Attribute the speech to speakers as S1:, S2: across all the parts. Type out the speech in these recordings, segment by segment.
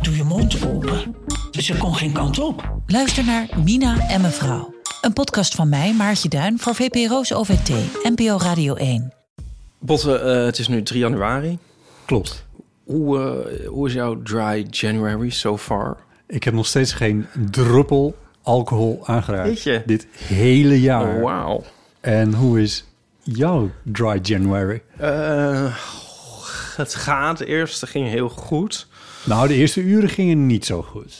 S1: doe je mond open. Ze kon geen kant op.
S2: Luister naar Mina en mevrouw. Een podcast van mij, Maartje Duin, voor VPRO's OVT, NPO Radio 1.
S3: Botte, eh, het is nu 3 januari.
S4: Klopt.
S3: Hoe, eh, hoe is jouw dry January so far?
S4: Ik heb nog steeds geen druppel alcohol aangeraakt.
S3: Weet je?
S4: Dit hele jaar.
S3: Oh, wauw.
S4: En hoe is jouw dry January?
S3: Eh, het gaat. De eerste ging heel goed.
S4: Nou, de eerste uren gingen niet zo goed.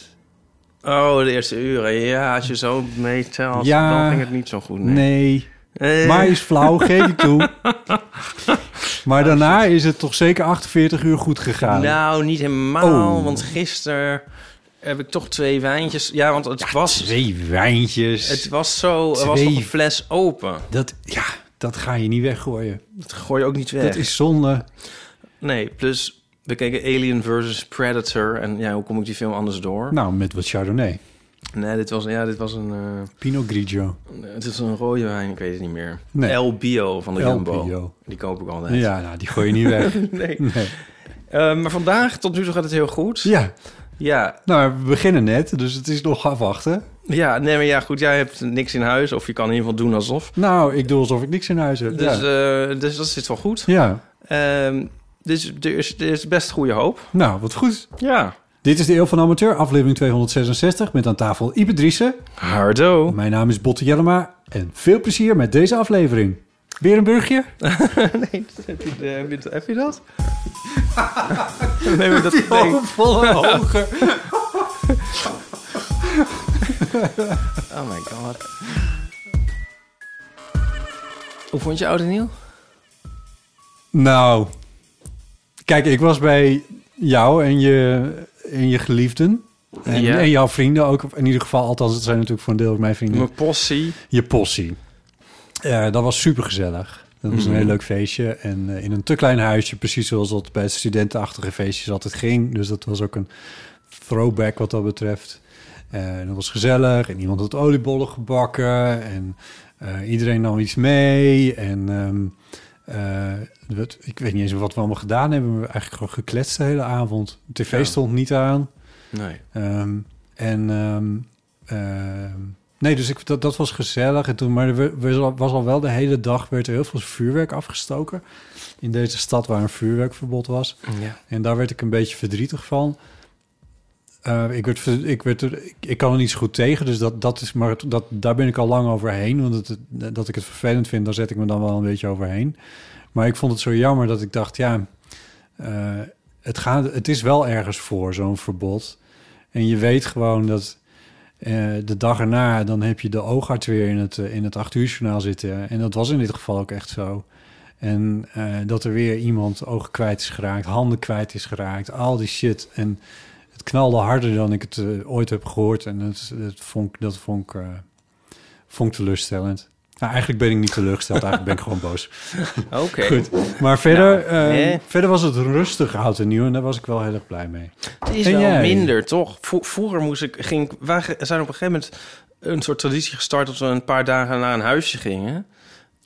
S3: Oh, de eerste uren. Ja, als je zo meetelt,
S4: Ja.
S3: dan ging het niet zo goed.
S4: Nee.
S3: Nee. Eh,
S4: Maar is flauw, geef ik toe. Maar daarna is het toch zeker 48 uur goed gegaan.
S3: Nou, niet helemaal.
S4: Oh.
S3: Want gisteren heb ik toch twee wijntjes. Ja, want het, was,
S4: Twee wijntjes.
S3: het was zo. Er was
S4: Twee.
S3: nog een fles open.
S4: Dat, ja, dat ga je niet weggooien.
S3: Dat gooi je ook niet weg.
S4: Dat is zonde.
S3: Nee, plus we keken Alien versus Predator. En ja, hoe kom ik die film anders door?
S4: Nou, met wat Chardonnay.
S3: Nee, dit was, ja, dit was een, eh,
S4: Pinot Grigio.
S3: het is een rode wijn, ik weet het niet meer.
S4: Nee.
S3: El Bio van de
S4: El
S3: Jumbo.
S4: Bio.
S3: Die koop ik altijd.
S4: Ja, nou, die gooi je niet weg.
S3: Nee.
S4: Nee.
S3: Eh, maar vandaag, tot nu toe gaat het heel goed.
S4: Ja,
S3: Ja,
S4: nou, we beginnen net, dus het is nog afwachten.
S3: ja, nee, maar ja, goed, jij hebt niks in huis. Of je kan in ieder geval doen alsof.
S4: Nou, ik doe alsof ik niks in huis heb.
S3: Dus,
S4: ja.
S3: eh, dus dat zit wel goed.
S4: ja,
S3: Ehm, dus er is, er is best goede hoop.
S4: nou, wat goed.
S3: Ja.
S4: Dit is de Eeuw van Amateur, aflevering 266, met aan tafel Ipe Driessen.
S3: Hardo.
S4: Mijn naam is Botte Jellema en veel plezier met deze aflevering. Weer een burgje?
S3: Nee, dat heb, je, eh, heb je- heb je dat? nee, maar dat nee.
S4: volle hoger.
S3: Oh my god. Hoe vond je Oud en Nieuw?
S4: Nou, kijk, ik was bij jou en je, en je geliefden. En,
S3: Ja.
S4: en jouw vrienden ook, in ieder geval. Althans, het zijn natuurlijk voor een deel ook mijn vrienden.
S3: Mijn possie.
S4: je possie. Eh, dat was supergezellig. Dat was een heel leuk feestje. En eh, in een te klein huisje, precies zoals dat bij studentenachtige feestjes altijd ging. Dus dat was ook een throwback wat dat betreft. Eh, en dat was gezellig. En iemand had oliebollen gebakken. En eh, iedereen nam iets mee. En ehm, eh, wat- ik weet niet eens wat we allemaal gedaan hebben. We hebben eigenlijk gewoon gekletst de hele avond. De tv
S3: Ja.
S4: stond niet aan.
S3: Nee.
S4: Ehm, en ehm, ehm, nee, dus ik, dat, dat was gezellig. En toen, maar er we- we- was al wel de hele dag werd er heel veel vuurwerk afgestoken. In deze stad waar een vuurwerkverbod was.
S3: Ja.
S4: En daar werd ik een beetje verdrietig van. Eh, ik, werd, ver- ik, werd er, ik, ik kan er niet zo goed tegen, dus dat, dat is, maar het- dat, daar ben ik al lang overheen. Want het, dat ik het vervelend vind, daar zet ik me dan wel een beetje overheen. Maar ik vond het zo jammer dat ik dacht, ja, eh, het, gaat, het is wel ergens voor, zo'n verbod. En je weet gewoon dat eh, de dag erna, dan heb je de oogarts weer in het, eh, in het acht uur journaal zitten. En dat was in dit geval ook echt zo. En eh, dat er weer iemand ogen kwijt is geraakt, handen kwijt is geraakt, al die shit. En het knalde harder dan ik het eh, ooit heb gehoord. En het, het vond, ik- dat vond ik, eh, vond ik teleurstellend. Nou, eigenlijk ben ik niet teleurgesteld, eigenlijk ben ik gewoon boos.
S3: Oké.
S4: Goed, maar verder,
S3: Nou,
S4: eh,
S3: eh.
S4: verder was het rustig oud en nieuw en daar was ik wel heel erg blij mee.
S3: Het is
S4: En
S3: wel
S4: jij?
S3: minder, toch? Vro- vroeger moest ik, ging, ik- wij ge- zijn op een gegeven moment een soort traditie gestart... dat we een paar dagen naar een huisje gingen.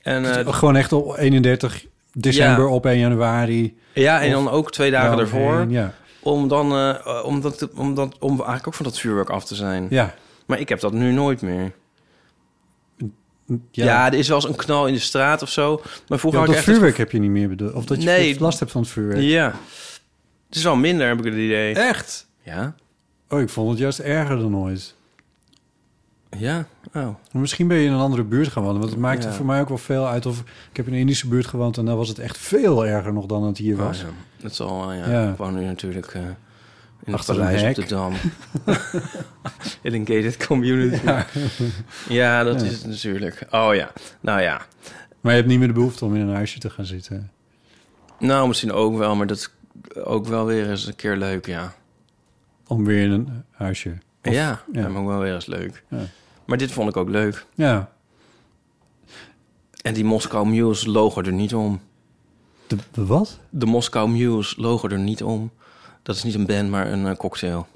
S3: En, eh,
S4: Gewoon echt op 31 december op 1 januari.
S3: ja, en dan ook twee dagen
S4: Nou,
S3: daarvoor.
S4: en ja.
S3: Om dan, eh, om, dat, om, dat, om eigenlijk ook van dat vuurwerk af te zijn.
S4: Ja.
S3: Maar ik heb dat nu nooit meer. Ja.
S4: ja.
S3: er is wel eens een knal in de straat of zo. Maar vroeger
S4: Ja,
S3: had ik
S4: dat
S3: echt...
S4: vuurwerk heb je niet meer bedoeld. Of dat je
S3: Nee.
S4: last hebt van het vuurwerk.
S3: Ja. Het is wel minder, heb ik het idee.
S4: Echt?
S3: Ja?
S4: Oh, ik vond het juist erger dan ooit.
S3: Ja? Oh.
S4: Maar misschien ben je in een andere buurt gaan wonen. Want het maakte
S3: Ja.
S4: voor mij ook wel veel uit. Of ik heb in een Indische buurt gewoond en daar was het echt veel erger nog dan het hier
S3: Oh,
S4: was.
S3: ja. Dat is al, ja.
S4: Ja.
S3: Ik woon nu natuurlijk eh, in het
S4: Achter een
S3: Parijs op
S4: hek.
S3: de Dam. in een gated community. Ja, dat is het natuurlijk. Oh ja, nou ja.
S4: Maar je hebt niet meer de behoefte om in een huisje te gaan zitten.
S3: Nou, misschien ook wel, maar dat is ook wel weer eens een keer leuk, ja.
S4: om weer in een huisje. Of-
S3: ja,
S4: ja.
S3: ja, maar wel weer eens leuk.
S4: Ja.
S3: Maar dit vond ik ook leuk.
S4: Ja,
S3: En die Moscow Mules logen er niet om.
S4: de, de wat?
S3: De Moscow Mules logen er niet om. Dat is niet een band, maar een eh, cocktail.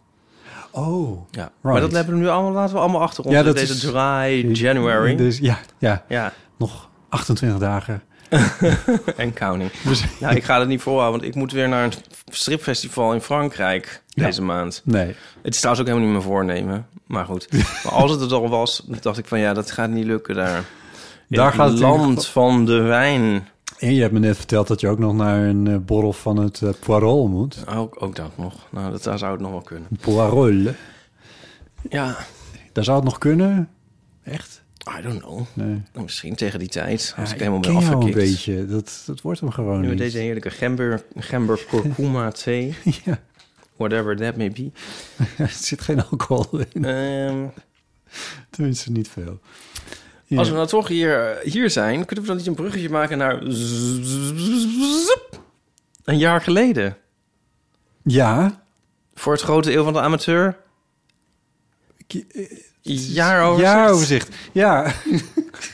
S4: Oh.
S3: Ja. Maar dat hebben we nu allemaal, laten we allemaal achter ons.
S4: Ja,
S3: Ja,
S4: dat
S3: deze
S4: is-
S3: dry January.
S4: Dus ja, ja,
S3: Ja,
S4: nog 28 dagen.
S3: en counting.
S4: Dus,
S3: Nou, ik ga dat niet volhouden, want ik moet weer naar een stripfestival in Frankrijk
S4: Ja.
S3: deze maand.
S4: nee.
S3: Het is trouwens ook helemaal niet mijn voornemen, maar goed. Maar als het het al was, dan dacht ik van ja, dat gaat niet lukken daar. In
S4: Daar gaat het
S3: het
S4: in ieder
S3: land van de wijn.
S4: En je hebt me net verteld dat je ook nog naar een eh, borrel van het eh, Poirol moet.
S3: Ook, ook dat nog. Nou, dat, daar zou het nog wel kunnen.
S4: Poirol.
S3: Ja,
S4: Daar zou het nog kunnen. Echt?
S3: I don't know.
S4: Nee.
S3: Nou, Misschien tegen die tijd, als
S4: Ja,
S3: ik helemaal
S4: Ah, ken
S3: ben
S4: jou een
S3: afgekikt.
S4: beetje. Dat, dat wordt hem gewoon
S3: Nu
S4: niet.
S3: met deze heerlijke gember, gember kurkuma thee,
S4: Ja,
S3: whatever that may be.
S4: er zit geen alcohol in.
S3: Ehm,
S4: Tenminste, niet veel. Ja.
S3: Als we nou toch hier, hier zijn, kunnen we dan niet een bruggetje maken naar... zzzzzzzzup? Een jaar geleden.
S4: Ja.
S3: Voor het grote eeuw van de amateur.
S4: Ki- eh,
S3: Jaaroverzicht.
S4: Jaaroverzicht. Ja.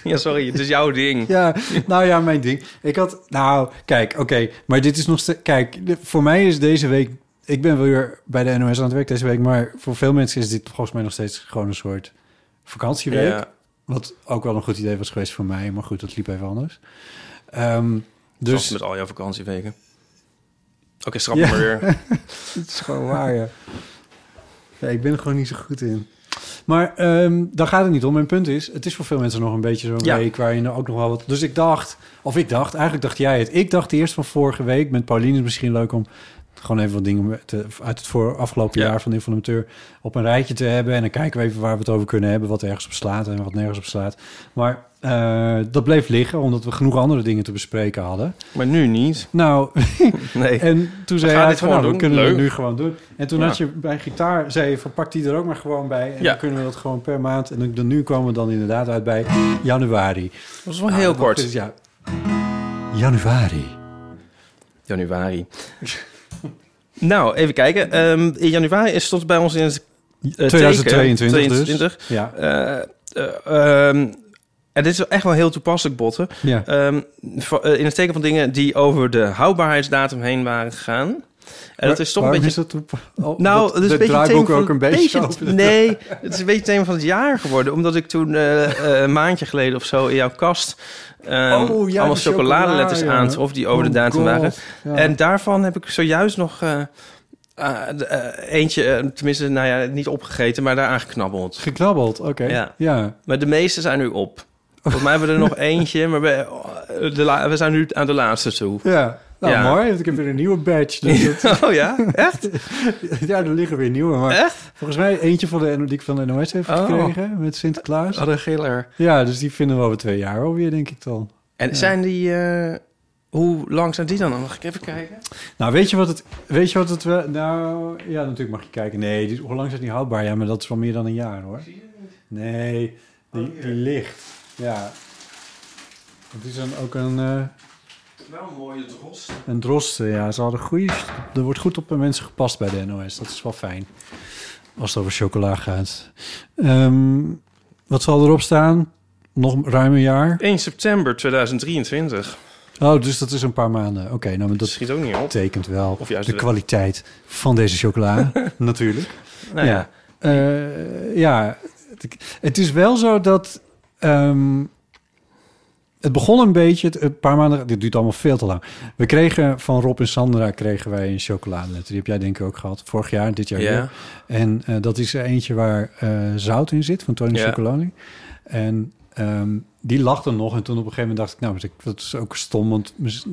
S3: Ja, sorry, het is jouw ding.
S4: Ja, nou ja, mijn ding. Ik had, nou, kijk, oké, maar dit is nog steeds, kijk, de- voor mij is deze week, ik ben weer bij de NOS aan het werk deze week, maar voor veel mensen is dit volgens mij nog steeds gewoon een soort vakantieweek.
S3: Ja.
S4: Wat ook wel een goed idee was geweest voor mij, maar goed, dat liep even anders. Ehm,
S3: Dus
S4: dus
S3: met al jouw vakantieweken. Oké, schrap
S4: Ja.
S3: maar weer.
S4: het is gewoon waar, ja. Ja, ik ben er gewoon niet zo goed in. Maar ehm daar gaat het niet om. Mijn punt is, het is voor veel mensen nog een beetje zo'n
S3: Ja.
S4: week waarin er ook nog wel wat... Dus ik dacht, of ik dacht, eigenlijk dacht jij het. Ik dacht eerst van vorige week, met Pauline is het misschien leuk om... gewoon even wat dingen te- uit het voor, afgelopen
S3: Ja.
S4: jaar van de informateur op een rijtje te hebben. En dan kijken we even waar we het over kunnen hebben. Wat ergens op slaat en wat nergens op slaat. Maar eh, dat bleef liggen, omdat we genoeg andere dingen te bespreken hadden.
S3: Maar nu niet.
S4: Nou,
S3: Nee.
S4: en toen zei
S3: gaan
S4: hij
S3: dit
S4: van,
S3: gewoon
S4: nou, we
S3: doen.
S4: kunnen het
S3: Leuk.
S4: nu gewoon doen. En toen
S3: Ja.
S4: had je bij gitaar, zei je van, pak die er ook maar gewoon bij. En
S3: Ja.
S4: dan kunnen we dat gewoon per maand. En dan, nu kwamen we dan inderdaad uit bij januari.
S3: Dat was wel Oh, heel
S4: Ah, dat
S3: kort.
S4: is- ja. Januari.
S3: Januari. nou, even kijken. Ehm, in januari is tot bij ons in het eh,
S4: 2022
S3: teken,
S4: dus.
S3: 22.
S4: Ja,
S3: Eh, eh, ehm, en dit is echt wel heel toepasselijk, Botten.
S4: ja.
S3: Ehm, va- eh, in het teken van dingen die over de houdbaarheidsdatum heen waren gegaan. En dat is toch een
S4: Waarom
S3: beetje...
S4: is dat op, oh,
S3: nou,
S4: dat-
S3: het is
S4: de
S3: een beetje
S4: draaiboek
S3: thema van
S4: ook
S3: het
S4: een beetje. Oh,
S3: beetje-
S4: open.
S3: nee, het is een beetje het thema van het jaar geworden. Omdat ik toen eh, eh, een maandje geleden of zo in jouw kast... ehm,
S4: Oh, ja,
S3: allemaal
S4: die chocoladeletters
S3: chocoladeletters
S4: ja.
S3: aantrof die over de
S4: Oh
S3: datum waren.
S4: God, ja.
S3: En daarvan heb ik zojuist nog eh, eh, de- eh, eentje, eh, tenminste, nou ja, niet opgegeten, maar daaraan geknabbeld.
S4: Geknabbeld, oké. Ja.
S3: Ja. Maar de meeste zijn nu op. Volgens mij hebben we er nog eentje, maar we, eh, de la- we zijn nu aan de laatste toe.
S4: Ja. Nou,
S3: Ja.
S4: mooi. want Ik heb weer een nieuwe badge. Dus dat-
S3: Oh ja? Echt?
S4: ja, er liggen weer nieuwe. Maar
S3: Echt?
S4: volgens mij eentje van de, NO die ik van de NOS heeft
S3: Oh.
S4: gekregen met Sinterklaas.
S3: Wat een giller.
S4: Ja, dus die vinden we over twee jaar alweer, denk ik dan.
S3: En zijn die... eh, hoe lang zijn die dan? Mag ik even kijken?
S4: Nou, weet je wat het... Weet je wat het wel... Nou, ja, natuurlijk mag je kijken. Nee, die, hoe lang is het niet houdbaar? Ja, maar dat is wel meer dan een jaar, hoor. Nee, die, die ligt. Ja. Het is dan ook een, eh
S3: Wel een mooie drost.
S4: een droste. eh, Ja, ze hadden goede... Er wordt goed op de mensen gepast bij de NOS. Dat is wel fijn. Als het over chocola gaat. Ehm, wat zal erop staan? Nog ruim een jaar?
S3: 1 september 2023.
S4: Oh, dus dat is een paar maanden. Oké, nou, maar
S3: Dat
S4: dat
S3: schiet ook niet op.
S4: tekent wel
S3: Of juist
S4: de
S3: wel.
S4: kwaliteit van deze chocola, natuurlijk.
S3: Nou ja.
S4: ja. Eh, ja, het- het is wel zo dat... ehm, het begon een beetje, het- een paar maanden... Dit duurt allemaal veel te lang. We kregen van Rob en Sandra kregen wij een chocoladeletter. Die heb jij denk ik ook gehad. Vorig jaar, dit jaar
S3: Ja.
S4: weer. En eh, dat is er eentje waar eh, zout in zit, van Tony
S3: Ja.
S4: Chocoloni. En ehm, die lag er nog. En toen op een gegeven moment dacht ik, nou, dat- dat is ook stom, want mis-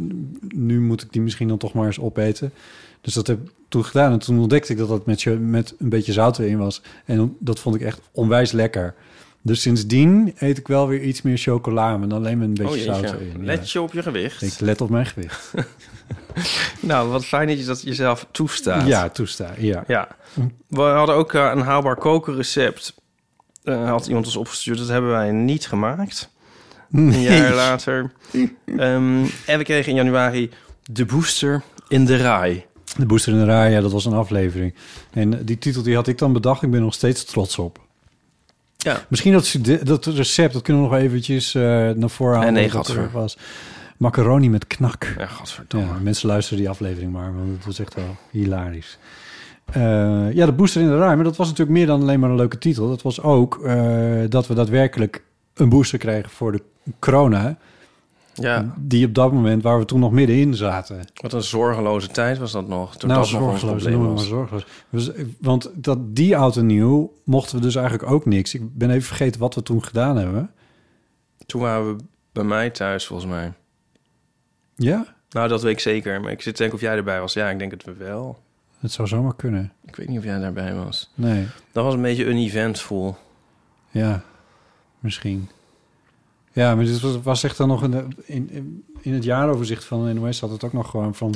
S4: nu moet ik die misschien dan toch maar eens opeten. Dus dat heb ik toen gedaan. En toen ontdekte ik dat dat met, je- met een beetje zout erin was. En dat vond ik echt onwijs lekker. Dus sindsdien eet ik wel weer iets meer chocola, maar dan alleen met een beetje
S3: Oh
S4: zout
S3: jeetje.
S4: erin.
S3: Let
S4: Ja.
S3: je op je gewicht.
S4: Ik let op mijn gewicht.
S3: Nou, wat fijn dat je dat jezelf toestaat.
S4: Ja, toestaan. Ja.
S3: Ja. We hadden ook eh, een haalbaar kokenrecept. Eh, had iemand ons opgestuurd. Dat hebben wij niet gemaakt. Een jaar later. Ehm, en we kregen in januari de booster in de rij.
S4: De Booster in de Raar, ja, dat was een aflevering. En eh, die titel die had ik dan bedacht. Ik ben er nog steeds trots op.
S3: Ja.
S4: Misschien dat, stude- dat recept, dat kunnen we nog eventjes eh, naar voren halen.
S3: nee,
S4: wat dat
S3: gadver.
S4: er was. Macaroni met knak.
S3: Ja,
S4: Ja,
S3: godverdomme.
S4: mensen luisteren die aflevering maar, want het was echt wel hilarisch. Eh, ja, de booster in de ruimte. Dat was natuurlijk meer dan alleen maar een leuke titel. Dat was ook eh, dat we daadwerkelijk een booster kregen voor de corona.
S3: Ja,
S4: Die op dat moment, waar we toen nog middenin zaten.
S3: wat een zorgeloze tijd was dat nog. Toen dat nog ons
S4: Nou, zorgeloos,
S3: probleem
S4: noem het
S3: Nou, was.
S4: maar zorgeloos. Dus, eh, want dat, die oud en nieuw mochten we dus eigenlijk ook niks. Ik ben even vergeten wat we toen gedaan hebben.
S3: Toen waren we bij mij thuis, volgens mij.
S4: Ja,
S3: Nou, dat weet ik zeker. Maar ik zit te denken of jij erbij was. Ja, ik denk het wel.
S4: het zou zomaar kunnen.
S3: Ik weet niet of jij daarbij was.
S4: Nee,
S3: Dat was een beetje een eventvol.
S4: Ja, misschien. Ja, maar dit was, was echt dan nog in, de- in, in- in het jaaroverzicht van de NOS had het ook nog gewoon van...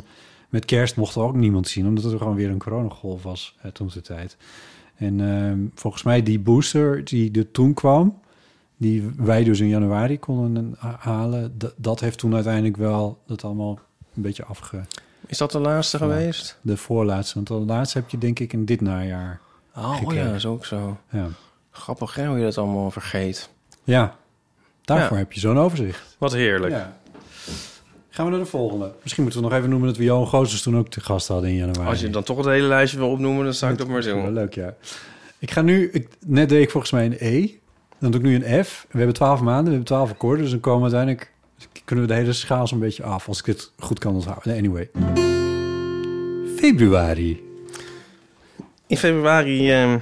S4: Met kerst mocht er ook niemand zien, omdat er gewoon weer een coronagolf was eh, toen de tijd. En ehm, volgens mij die booster die er toen kwam, die wij dus in januari konden ha- halen... d- dat heeft toen uiteindelijk wel dat allemaal een beetje afge...
S3: Is dat de laatste geweest?
S4: De voorlaatste, want de laatste heb je denk ik in dit najaar.
S3: Oh
S4: Gekeken.
S3: ja, dat is ook zo.
S4: Ja,
S3: Grappig hè, hoe je dat allemaal vergeet.
S4: ja daarvoor
S3: Ja.
S4: heb je zo'n overzicht.
S3: Wat heerlijk.
S4: Ja. Gaan we naar de volgende. Misschien moeten we nog even noemen dat we Johan Gozers toen ook te gast hadden in januari.
S3: Als je dan toch het hele lijstje wil opnoemen, dan zou ik dat maar
S4: Wel
S3: doen.
S4: Leuk, ja. Ik ga nu... Ik, net deed ik volgens mij een E. Dan doe ik nu een F. We hebben twaalf maanden, we hebben twaalf akkoorden. Dus dan komen we uiteindelijk... Kunnen we de hele schaal zo'n beetje af. Als ik het goed kan onthouden. Anyway. Februari.
S3: In februari eh,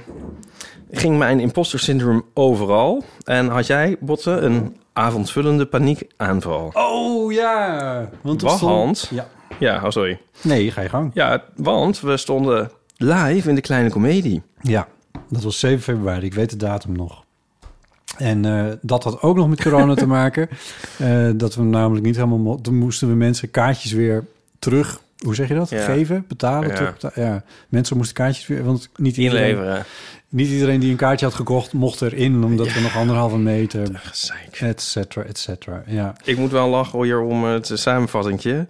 S3: ging mijn imposter syndroom overal. En had jij, Botte, een avondvullende paniekaanval.
S4: Oh, ja. Want
S3: Wacht, Hans.
S4: Ja.
S3: Ja, oh sorry.
S4: Nee, ga je gang.
S3: Ja, want we stonden live in de kleine komedie.
S4: Ja, dat was 7 februari. Ik weet de datum nog. En eh, dat had ook nog met corona te maken. Eh, dat we namelijk niet helemaal... mo- Toen moesten we mensen kaartjes weer terug... Hoe zeg je dat?
S3: Ja.
S4: Geven, betalen,
S3: Ja.
S4: terug betalen. Ja. Mensen moesten kaartjes weer... Want niet iedereen,
S3: Inleveren.
S4: niet iedereen die een kaartje had gekocht mocht erin... omdat we nog anderhalve meter,
S3: Gezeik.
S4: et cetera, et cetera. Ja.
S3: Ik moet wel lachen hier om het samenvattingje.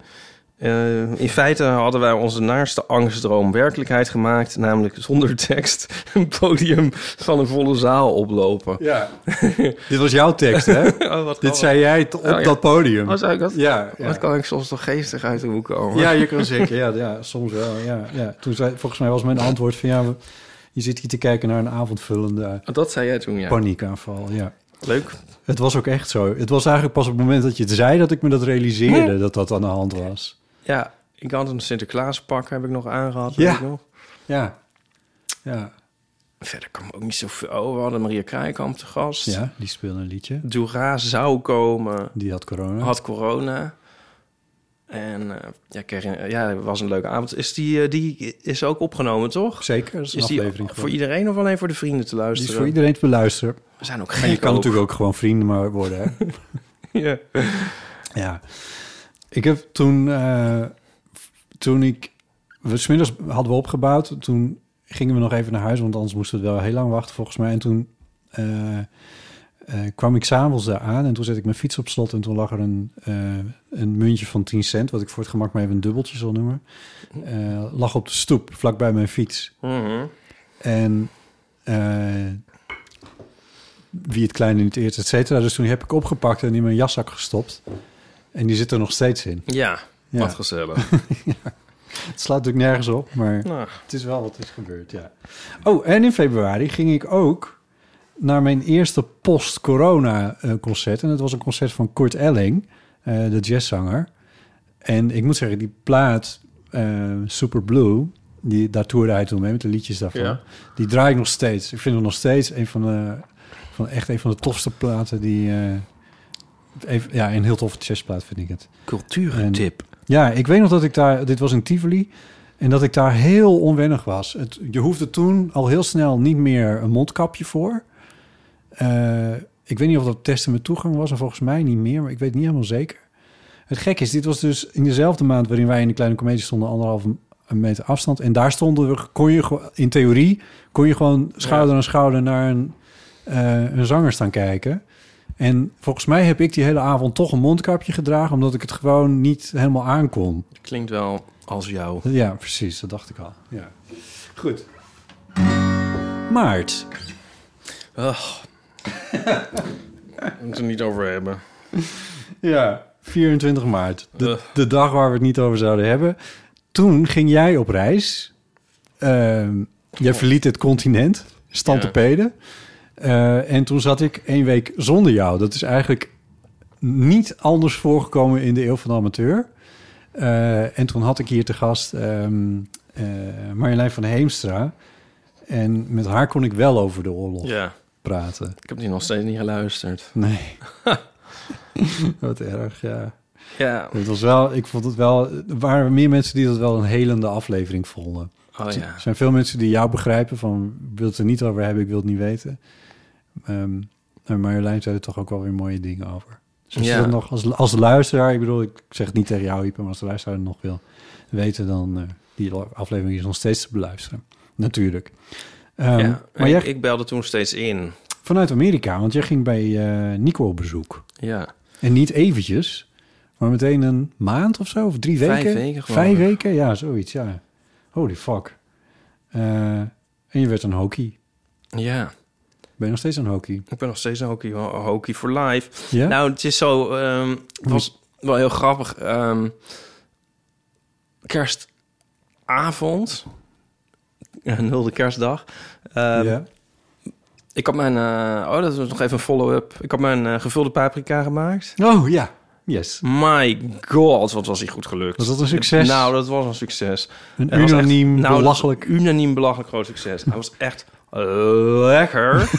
S3: Eh, in feite hadden wij onze naarste angstdroom werkelijkheid gemaakt. Namelijk zonder tekst een podium van een volle zaal oplopen.
S4: ja. Dit was jouw tekst, hè?
S3: Oh, wat
S4: Dit zei jij t- op
S3: Oh, ja.
S4: dat podium.
S3: Oh, zei ik dat?
S4: Ja, ja.
S3: Wat kan ik soms toch geestig uit de hoek komen?
S4: Ja, je kan zeker. Ja, ja soms wel. Ja, ja. Toen zei, volgens mij was mijn antwoord van ja, we- je zit hier te kijken naar een avondvullende
S3: Oh, Dat zei jij toen, ja.
S4: paniekaanval. Ja.
S3: Leuk.
S4: Het was ook echt zo. Het was eigenlijk pas op het moment dat je het zei dat ik me dat realiseerde dat dat aan de hand was.
S3: Ja, ik had een Sinterklaaspak, heb ik nog aangehad.
S4: Ja.
S3: weet ik nog.
S4: Ja. Ja.
S3: Verder kwam ook niet zoveel. Oh, we hadden Maria Kraaikamp te gast.
S4: Ja, die speelde een liedje.
S3: Dura zou komen.
S4: Die had corona.
S3: Had corona. En eh, ja, ik kreeg een- ja, het was een leuke avond. Is die, eh, die is ook opgenomen, toch?
S4: Zeker, dat is een
S3: Is die
S4: aflevering.
S3: voor
S4: geworden.
S3: iedereen of alleen voor de vrienden te
S4: Die is
S3: luisteren?
S4: voor iedereen te beluisteren.
S3: We zijn ook
S4: En
S3: geen
S4: je kan natuurlijk ook gewoon vrienden maar worden, hè?
S3: Ja.
S4: Ja. Ik heb toen... eh, toen ik... We, 's middags hadden we opgebouwd. Toen gingen we nog even naar huis. Want anders moesten we wel heel lang wachten, volgens mij. En toen eh, eh, kwam ik s'avonds daar aan. En toen zette ik mijn fiets op slot. En toen lag er een, eh, een muntje van 10 cent. Wat ik voor het gemak maar even een dubbeltje zal noemen. eh, lag op de stoep, vlakbij mijn fiets.
S3: Mhm.
S4: En eh, wie het kleine niet eert, et cetera. Dus toen heb ik opgepakt en in mijn jaszak gestopt. En die zit er nog steeds in.
S3: ja,
S4: Ja.
S3: wat gezellig.
S4: Het slaat natuurlijk nergens op, maar
S3: nou,
S4: het is wel wat is gebeurd, ja. Oh, en in februari ging ik ook naar mijn eerste post-corona eh, concert. En dat was een concert van Kurt Elling, eh, de jazzzanger. En ik moet zeggen, die plaat eh, Super Blue, die, daar toerde hij toen mee met de liedjes daarvan.
S3: Ja.
S4: Die draai ik nog steeds. Ik vind hem nog steeds een van de, van echt een van de tofste platen die... eh, even, ja, een heel toffe jazzplaat vind ik het.
S3: cultuurtip.
S4: Ja, ik weet nog dat ik daar, dit was in Tivoli, en dat ik daar heel onwennig was. Het, je hoefde toen al heel snel niet meer een mondkapje voor. Eh, ik weet niet of dat testen met toegang was, en volgens mij niet meer, maar ik weet niet helemaal zeker. Het gek is, dit was dus in dezelfde maand waarin wij in de kleine comedie stonden, anderhalve meter afstand. En daar stonden we, kon je gewoon- in theorie, kon je gewoon schouder aan schouder naar een, eh, een zanger staan kijken. En volgens mij heb ik die hele avond toch een mondkapje gedragen, omdat ik het gewoon niet helemaal aankon.
S3: Klinkt wel als jou.
S4: Ja, precies. Dat dacht ik al. Ja. Goed. Maart.
S3: Ach. We moeten het er niet over hebben.
S4: Ja, 24 maart. De,
S3: Ugh.
S4: de dag waar we het niet over zouden hebben. Toen ging jij op reis. Ehm, jij verliet het continent, Stantepede. Eh, en toen zat ik één week zonder jou. Dat is eigenlijk niet anders voorgekomen in de eeuw van de amateur. Eh, en toen had ik hier te gast ehm, eh, Marjolein van Heemstra. En met haar kon ik wel over de oorlog
S3: Ja,
S4: praten.
S3: ik heb die nog steeds niet geluisterd.
S4: Nee. Wat erg, ja.
S3: Ja,
S4: Het was wel, ik vond het wel, er waren meer mensen die dat wel een helende aflevering vonden.
S3: oh ja.
S4: Er zijn veel mensen die jou begrijpen van, ik wil het er niet over hebben, ik wil het niet weten. Ehm en Marjolein zei er toch ook wel weer mooie dingen over. Dus als je
S3: Ja.
S4: dat nog als, als luisteraar, ik bedoel, ik zeg het niet tegen jou, Iep, maar als de luisteraar het nog wil weten, dan eh, die aflevering is nog steeds te beluisteren. Natuurlijk. Ehm,
S3: ja.
S4: Maar
S3: ik,
S4: jij,
S3: ik belde toen steeds in.
S4: vanuit Amerika, want jij ging bij eh, Nico op bezoek.
S3: Ja,
S4: En niet eventjes, maar meteen een maand of zo, of drie
S3: Vijf
S4: weken.
S3: weken, geloof
S4: Vijf
S3: ik.
S4: weken, ja, zoiets, ja. Holy fuck. Eh, en je werd een hockey.
S3: ja.
S4: Ben je nog steeds een hockey?
S3: Ik ben nog steeds een hockey, ho- hockey for life.
S4: Ja?
S3: Nou, het is zo... ehm, het was wel heel grappig. ehm, kerstavond. eh, Nulde kerstdag. ehm,
S4: ja.
S3: Ik had mijn... eh, oh, dat was nog even een follow-up. Ik had mijn eh, gevulde paprika gemaakt.
S4: Oh, ja. Yes.
S3: My god, wat was die goed gelukt.
S4: Was dat een succes?
S3: Nou, dat was een succes.
S4: Een
S3: Hij was echt-
S4: unaniem,
S3: nou, dat was
S4: belachelijk...
S3: een unaniem belachelijk groot succes. Hij was echt lekker.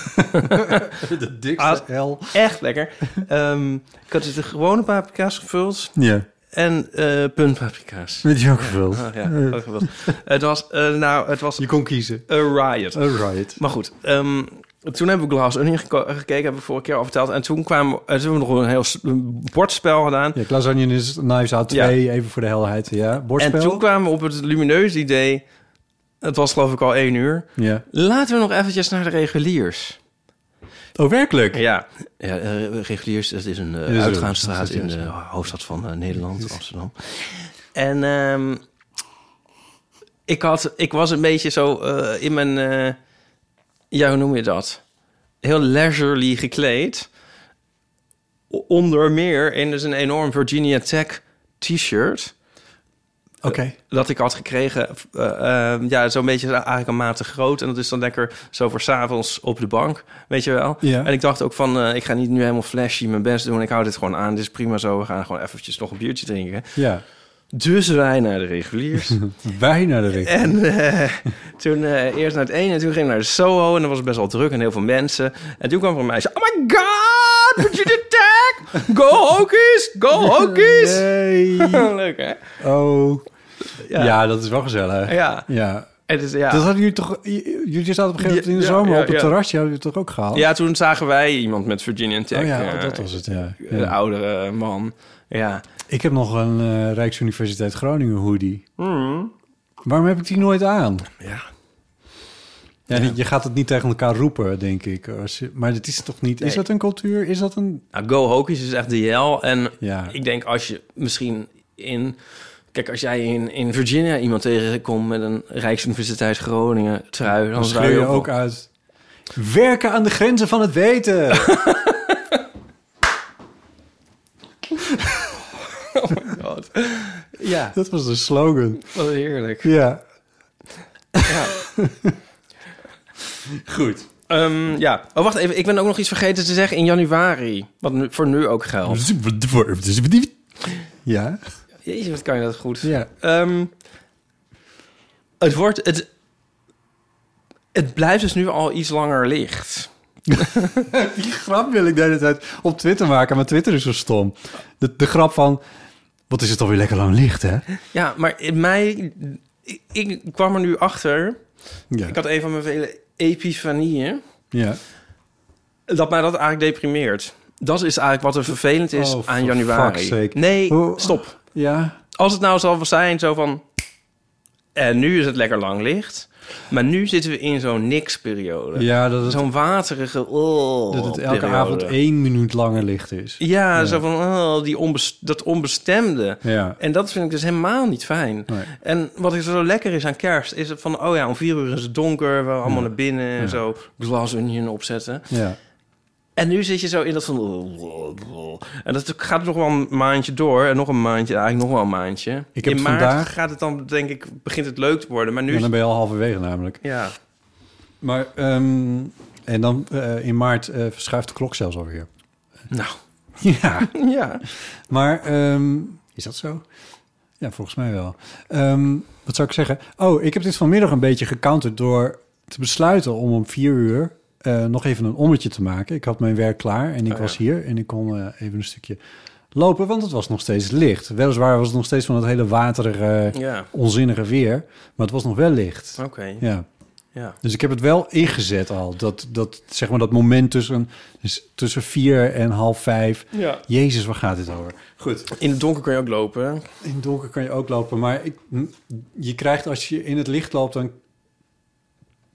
S4: De
S3: Ah.
S4: hel.
S3: echt lekker. Ehm, ik had dus de gewone paprika's gevuld
S4: Ja,
S3: en eh puntpaprika's.
S4: met je ook gevuld.
S3: Ah, ja, ook gevuld. het was, eh, nou, het was
S4: Je kon kiezen.
S3: een riot.
S4: All right.
S3: Maar goed, ehm, toen hebben we Glass Onion geko- gekeken, hebben we vorige keer al verteld. En toen kwamen eh, toen hebben we nog een heel s- een bordspel gedaan.
S4: Ja, Klaas Onion is Knives Out 2, even voor de helheid. Ja,
S3: en
S4: bordspel.
S3: toen kwamen we op het lumineuze idee, het was geloof ik al één uur.
S4: Ja.
S3: Laten we nog eventjes naar de reguliers.
S4: Oh, werkelijk?
S3: Ja, ja eh, Reguliers, dat is een eh,
S4: is een
S3: uitgaansstraat
S4: uitgaansstraat,
S3: in de
S4: ja.
S3: hoofdstad van eh, Nederland, Amsterdam. En ehm, ik, had, ik was een beetje zo eh, in mijn, eh, ja, hoe noem je dat? Heel leisurely gekleed. O- Onder meer in dus een enorm Virginia Tech t-shirt
S4: Oké.
S3: dat ik had gekregen, eh, eh, ja, zo'n beetje eigenlijk een maat te groot. En dat is dan lekker zo voor 's avonds op de bank, weet je wel.
S4: Ja.
S3: En ik dacht ook van, eh, ik ga niet nu helemaal flashy mijn best doen. Ik hou dit gewoon aan, dit is prima zo. We gaan gewoon eventjes nog een biertje drinken.
S4: Ja.
S3: Dus wij naar de reguliers.
S4: Wij naar de richting.
S3: en eh, toen eh, eerst naar het ene en toen ging ik naar de Soho. En dat was best wel druk en heel veel mensen. En toen kwam er een meisje, oh my god, Virginia Tech! Go Hokies, go Hokies!
S4: Yay.
S3: Leuk hè?
S4: Oh. Ja.
S3: Ja.
S4: dat is wel gezellig.
S3: Ja.
S4: ja.
S3: Het is, ja.
S4: Dat hadden jullie toch... j- Jullie zaten op een gegeven moment in de
S3: Ja,
S4: zomer
S3: ja,
S4: op het
S3: ja.
S4: terrasje. Hadden jullie het toch ook gehaald?
S3: Ja, toen zagen wij iemand met Virginia Tech.
S4: Oh ja,
S3: eh,
S4: dat was het, ja.
S3: Een
S4: Ja.
S3: oudere man. Ja.
S4: Ik heb nog een eh, Rijksuniversiteit Groningen hoodie.
S3: Hmm.
S4: Waarom heb ik die nooit aan?
S3: ja.
S4: Ja, die- Je gaat het niet tegen elkaar roepen, denk ik. Als je- maar het is toch niet... Is
S3: Nee.
S4: dat een cultuur? Is dat een...
S3: Nou, Go Hokies is echt de jel. En
S4: Ja.
S3: ik denk als je misschien in... Kijk, als jij in, in Virginia iemand tegenkomt met een Rijksuniversiteit Groningen trui... Dan,
S4: Dan
S3: zou
S4: schreeuw je ook uit... Werken aan de grenzen van het weten.
S3: God. Ja,
S4: dat was de slogan.
S3: wat heerlijk.
S4: Ja. Goed.
S3: Ehm, ja. Oh, wacht even. Ik ben ook nog iets vergeten te zeggen in januari. Wat nu, voor nu ook
S4: Dus-
S3: geldt.
S4: Ja.
S3: Jezus, wat kan je dat goed.
S4: Ja.
S3: Ehm, het wordt... Het, het blijft dus nu al iets langer licht.
S4: Die grap wil ik de hele tijd op Twitter maken, maar Twitter is zo stom. De, de grap van, wat is het alweer lekker lang licht, hè?
S3: Ja, maar in mij... Ik, ik kwam er nu achter...
S4: Ja.
S3: Ik had een van mijn vele epifanieën...
S4: ja.
S3: dat mij dat eigenlijk deprimeert. Dat is eigenlijk wat er vervelend is
S4: Oh,
S3: aan
S4: for
S3: januari.
S4: fuck's sake.
S3: Nee,
S4: Hoe-
S3: stop.
S4: Ja.
S3: Als het nou zal zijn zo van... En nu is het lekker lang licht. Maar nu zitten we in zo'n niks-periode.
S4: Ja, dat het,
S3: Zo'n waterige... Oh,
S4: dat het elke
S3: periode.
S4: avond één minuut langer licht is.
S3: Ja, zo van oh, die onbes- dat onbestemde.
S4: Ja.
S3: En dat vind ik dus helemaal niet fijn.
S4: Nee.
S3: En wat er zo lekker is aan kerst, is het van... oh ja, om vier uur is het donker, we allemaal naar binnen... en zo glas onion opzetten.
S4: Ja.
S3: En nu zit je zo in dat van... En dat gaat nog wel een maandje door. En nog een maandje, eigenlijk nog wel een maandje.
S4: Ik heb
S3: in
S4: het
S3: maart
S4: vandaag-
S3: gaat het dan, denk ik, begint het leuk te worden. Maar nu...
S4: Ja,
S3: Ja,
S4: dan ben je al halverwege namelijk.
S3: ja.
S4: Maar ehm, en dan eh, in maart eh, verschuift de klok zelfs alweer.
S3: nou,
S4: Ja.
S3: ja.
S4: Maar ehm, is dat zo? Ja, volgens mij wel. Ehm, wat zou ik zeggen? Oh, ik heb dit vanmiddag een beetje gecounterd door te besluiten om om vier uur eh, nog even een ommetje te maken. Ik had mijn werk klaar en ik was hier en ik kon eh, even een stukje lopen, want het was nog steeds licht. Weliswaar was het nog steeds van het hele waterige,
S3: Ja,
S4: onzinnige weer, maar het was nog wel licht.
S3: oké.
S4: Ja.
S3: Ja.
S4: Dus ik heb het wel ingezet al. Dat, dat, zeg maar dat moment tussen, tussen vier en half vijf.
S3: Ja.
S4: Jezus, waar gaat dit over? Goed.
S3: In het donker kun je ook lopen. hè?
S4: In het donker kan je ook lopen, maar ik, je krijgt als je in het licht loopt, dan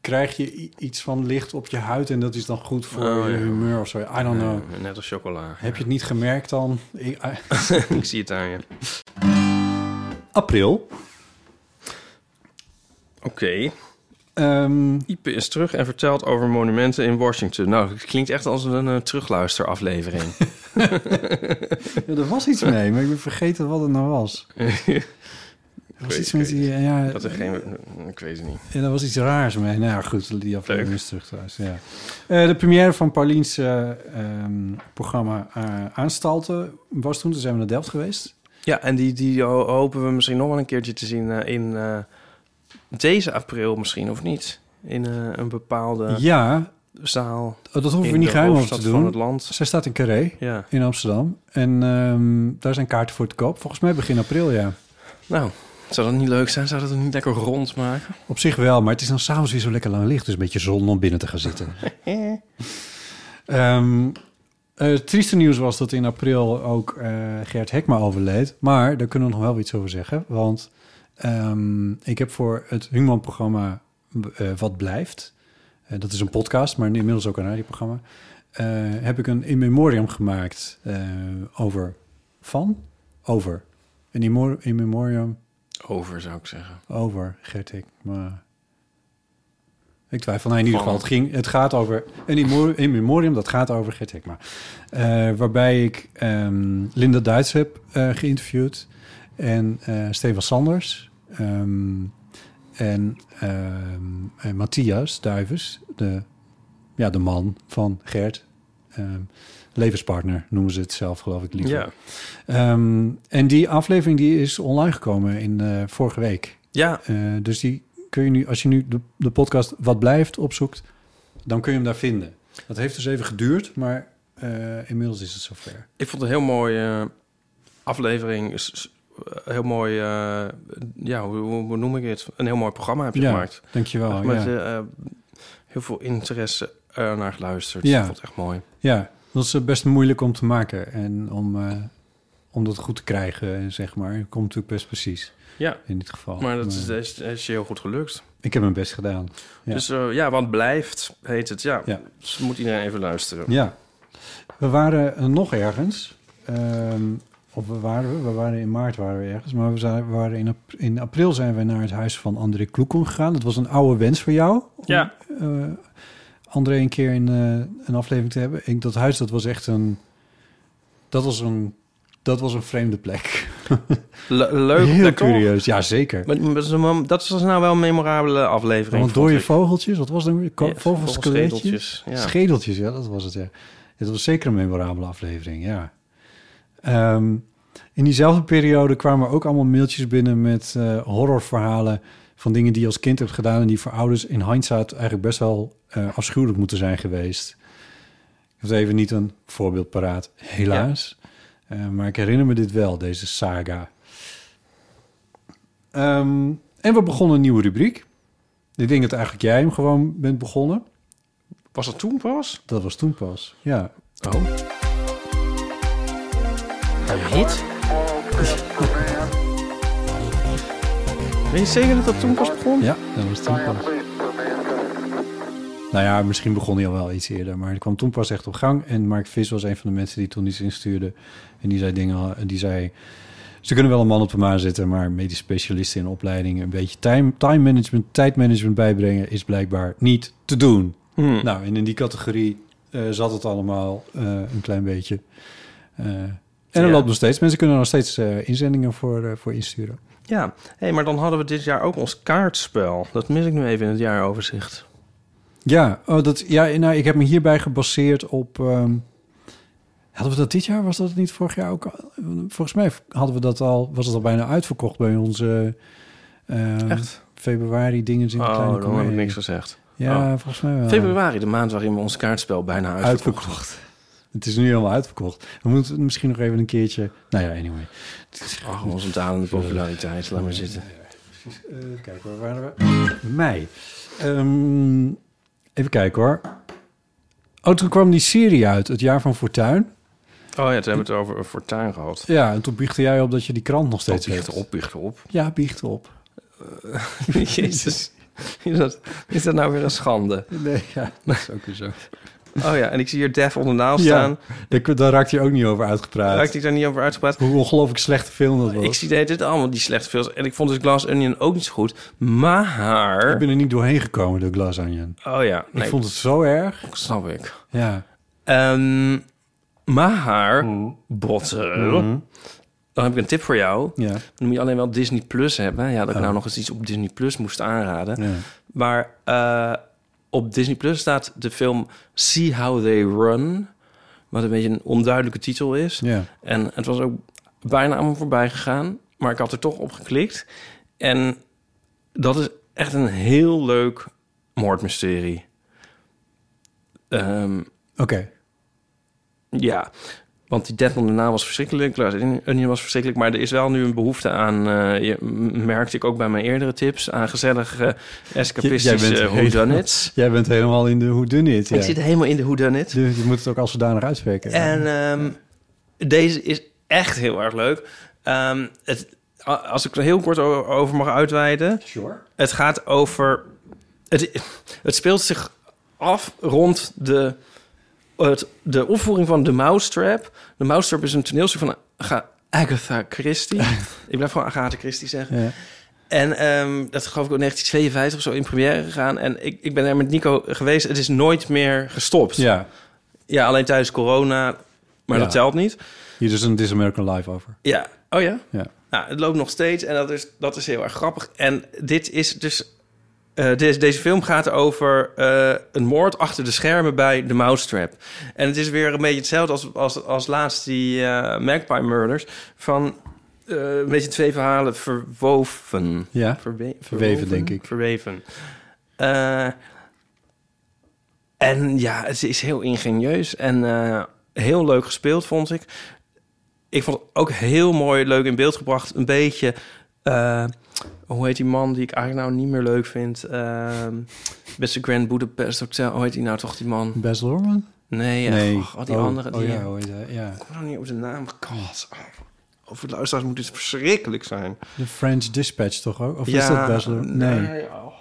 S4: krijg je i- iets van licht op je huid en dat is dan goed voor
S3: Oh,
S4: je
S3: ja.
S4: humeur of zo. I don't know.
S3: Net als chocola.
S4: Heb je het niet gemerkt dan? Ik- I-
S3: Ik zie het aan je.
S4: April.
S3: Oké.
S4: Ehm,
S3: Ipe is terug en vertelt over monumenten in Washington. Nou, het klinkt echt als een eh, terugluisteraflevering.
S4: ja, er was iets mee, maar ik ben vergeten wat het nou was. Er was
S3: weet- ik
S4: iets met
S3: weet
S4: die, eh, ja,
S3: Dat er geen... eh, Ik weet het niet.
S4: En er was iets raars mee. Nou ja, goed, die aflevering
S3: Leuk.
S4: is terug thuis. Ja. Eh, de première van Paulien's eh, ehm, programma eh, Aanstalten was toen. Toen zijn we naar Delft geweest.
S3: Ja, en die, die ho- hopen we misschien nog wel een keertje te zien eh, in eh, deze april misschien, of niet? In eh, een bepaalde
S4: Ja,
S3: zaal
S4: dat hoeven we
S3: in
S4: niet
S3: de
S4: geheim over te
S3: hoofdstad van
S4: doen.
S3: het land.
S4: Zij staat in Carré
S3: Ja,
S4: in Amsterdam. En ehm, daar zijn kaarten voor te koop. Volgens mij begin april, ja.
S3: nou, zou dat niet leuk zijn? Zou dat het niet lekker rond maken?
S4: Op zich wel, maar het is dan s'avonds weer zo lekker lang licht. Dus een beetje zon om binnen te gaan zitten. Ehm, eh, het trieste nieuws was dat in april ook eh, Gert Hekma overleed. Maar daar kunnen we nog wel iets over zeggen. Want ehm, ik heb voor het Human-programma eh, Wat Blijft... eh, dat is een podcast, maar inmiddels ook een radioprogramma... eh, heb ik een in memoriam gemaakt eh, over... Van? Over. Een in memo- in memoriam
S3: Over, zou ik zeggen.
S4: over Gert Hekma. Ik twijfel. Nou, in ieder
S3: Van-
S4: geval, het, ging, het gaat over... Een in memo- in memoriam, dat gaat over Gert Hekma. Eh, waarbij ik ehm, Linda Duits heb eh, geïnterviewd. En eh Stefan Sanders. ehm, en, ehm, en Matthias Duivens. De, ja, de man van Gert. Ehm, levenspartner noemen ze het zelf, geloof ik liever.
S3: Ja.
S4: Ehm, en die aflevering die is online gekomen in eh, vorige week.
S3: Ja,
S4: Eh, dus die kun je nu, als je nu de, de podcast Wat Blijft opzoekt, dan kun je hem daar vinden. Dat heeft dus even geduurd, maar eh, inmiddels is het zover.
S3: Ik vond het een heel mooie eh, aflevering. S- s- eh, Heel mooi, eh, ja, hoe, hoe- hoe noem ik het? Een heel mooi programma heb je gemaakt.
S4: dankjewel.
S3: Echt
S4: Ja,
S3: met eh, eh, heel veel interesse eh, naar geluisterd.
S4: Ja.
S3: Ik vond het echt mooi.
S4: ja, dat is eh, best moeilijk om te maken en om, eh, om dat goed te krijgen, eh, zeg maar. Komt natuurlijk best precies
S3: Ja,
S4: in dit geval.
S3: maar dat is, eh, is, is je heel goed gelukt.
S4: Ik heb mijn best gedaan. Ja.
S3: Dus eh, ja, want blijft, heet het. Ja,
S4: Ja.
S3: dus moet iedereen even luisteren.
S4: Ja. We waren eh, nog ergens. Ehm, of we waren we? We waren in maart waren we ergens. Maar we zijn, we waren in, ap- in april zijn we naar het huis van André Kloekon gegaan. Dat was een oude wens voor jou. om,
S3: Ja.
S4: eh, André een keer in eh, een aflevering te hebben. Ik, dat huis, dat was echt een... Dat was een, dat was een vreemde plek.
S3: Le- leuk,
S4: Heel
S3: lekker.
S4: curieus. Ja, zeker.
S3: Maar dat is een- dat was nou wel een memorabele aflevering.
S4: Want
S3: vond
S4: dode
S3: ik.
S4: vogeltjes, wat was dat? weer? Ko-
S3: Ja,
S4: Vogelschedeltjes.
S3: vogelschedeltjes, ja.
S4: Schedeltjes, ja, dat was het. Ja. Het was zeker een memorabele aflevering, ja. Ehm, in diezelfde periode kwamen ook allemaal mailtjes binnen met eh, horrorverhalen van dingen die je als kind hebt gedaan en die voor ouders in hindsight eigenlijk best wel eh, afschuwelijk moeten zijn geweest. Ik heb even niet een voorbeeld paraat, helaas. Eh, maar ik herinner me dit wel, deze saga. Ehm, en we begonnen een nieuwe rubriek. Ik denk dat eigenlijk jij hem gewoon bent begonnen.
S3: Was dat toen pas?
S4: Dat was toen pas. Ja.
S3: Oh. Hit? Weet je zeker dat dat toen pas begon?
S4: Ja, dat was toen pas. Nou ja, misschien begon hij al wel iets eerder, maar het kwam toen pas echt op gang. En Mark Vis was een van de mensen die toen iets instuurde. En die zei dingen, die zei... Ze kunnen wel een man op de maan zetten, maar medisch specialisten in opleiding... een beetje time, time management, tijdmanagement bijbrengen is blijkbaar niet te doen.
S3: Hmm.
S4: Nou, en in die categorie eh, zat het allemaal eh, een klein beetje. Eh, en er
S3: Ja.
S4: loopt nog steeds. Mensen kunnen er nog steeds eh, inzendingen voor, eh, voor insturen.
S3: Ja, hey, maar dan hadden we dit jaar ook ons kaartspel. Dat mis ik nu even in het jaaroverzicht.
S4: Ja, oh, dat, ja nou, ik heb me hierbij gebaseerd op... ehm, hadden we dat dit jaar? Was dat niet vorig jaar ook? al? Volgens mij hadden we dat al, was het al bijna uitverkocht bij onze... eh,
S3: Echt?
S4: Februari dingen in de
S3: Oh,
S4: kleine
S3: dan heb ik
S4: Comedie.
S3: niks gezegd.
S4: Ja,
S3: Oh.
S4: volgens mij wel.
S3: Februari, de maand waarin we ons kaartspel bijna uitverkocht.
S4: Uitverkocht. Het is nu helemaal uitverkocht. We moeten het misschien nog even een keertje... Nou ja, anyway.
S3: Ach, onze dalende populariteit, laat maar zitten.
S4: Eh, kijk, waar waren we? Mei. Ehm, even kijken hoor. Oh, toen kwam die serie uit, Het Jaar van Fortuin.
S3: Oh ja, toen hebben we het over een fortuin gehad.
S4: Ja, en toen biechtte jij op dat je die krant nog steeds
S3: Biecht
S4: hebt.
S3: op, biecht op.
S4: Ja, biecht op.
S3: Jezus. Is dat, is dat nou weer een schande?
S4: Nee, ja, dat is ook weer zo.
S3: Oh ja, en ik zie hier Def ondernaal
S4: Ja,
S3: staan.
S4: daar, daar raakt hij ook niet over uitgepraat.
S3: Raakte ik daar niet over uitgepraat?
S4: Hoe ongelooflijk slechte film dat was.
S3: Ik zie dit allemaal, die slechte films. En ik vond dus Glass Onion ook niet zo goed. Maar...
S4: Ik ben er niet doorheen gekomen door Glass Onion.
S3: Oh ja, nee,
S4: Ik vond het zo erg.
S3: snap ik.
S4: Ja.
S3: Ehm, maar,
S4: Mm.
S3: botten, dan heb ik een tip voor jou.
S4: Ja. Oh.
S3: Dan moet je alleen wel Disney Plus hebben. Ja, dat ik nou nog eens iets op Disney Plus moest aanraden.
S4: Ja.
S3: Maar eh, op Disney Plus staat de film See How They Run. Wat een beetje een onduidelijke titel is.
S4: Ja.
S3: En het was ook bijna aan me voorbij gegaan. Maar ik had er toch op geklikt. En dat is echt een heel leuk moordmysterie. Ehm
S4: Oké.
S3: ja, want die Deadman daarna was verschrikkelijk. Glass Onion was verschrikkelijk. Maar er is wel nu een behoefte aan... eh, je, m- merkte ik ook bij mijn eerdere tips... aan gezellige eh,
S4: J- jij
S3: escapistische
S4: bent
S3: whodunits.
S4: Jij bent helemaal in de hoe dun it. Ja. Dus
S3: Ik zit helemaal in de whodunit.
S4: Je je moet het ook als zodanig uitspreken.
S3: En ehm, deze is echt heel erg leuk. Ehm, het, a- als ik er heel kort o- over mag uitweiden. Het gaat over... Het, het speelt zich af rond de, het, de opvoering van The Mousetrap. The Mousetrap is een toneelstuk van Aga- Agatha Christie. ik blijf gewoon Agatha Christie zeggen.
S4: Ja.
S3: En ehm, dat is geloof ik in 1952 of zo in première gegaan. En ik, ik ben er met Nico geweest. Het is nooit meer gestopt.
S4: ja.
S3: Ja, alleen tijdens corona, maar
S4: Ja.
S3: dat telt niet.
S4: Hier is een This American Life over.
S3: Ja. Oh ja?
S4: Ja.
S3: Nou, het loopt nog steeds en dat is, dat is heel erg grappig. En dit is dus... eh, deze, deze film gaat over eh, een moord achter de schermen bij de Mousetrap. En het is weer een beetje hetzelfde als, als, als laatst die eh, Magpie Murders. Van eh, een beetje twee verhalen verwoven.
S4: Ja.
S3: Verwe-
S4: Verweven, denk ik.
S3: Verweven. Eh, en ja, het is heel ingenieus en eh, heel leuk gespeeld, vond ik. Ik vond het ook heel mooi, leuk in beeld gebracht. Een beetje, eh, hoe heet die man die ik eigenlijk nou niet meer leuk vind? Ehm Beste Grand Budapest Hotel, hoe heet die nou toch, die man?
S4: Bas Lorman?
S3: Nee, nee. wat die andere. Die,
S4: Oh ja, hoe heet hij? ja.
S3: Ik kom nou niet op de naam. God, oh, over de luisteraars moet dit verschrikkelijk zijn.
S4: De French Dispatch toch ook? Of is dat Bas Lorman? Nee.
S3: oh.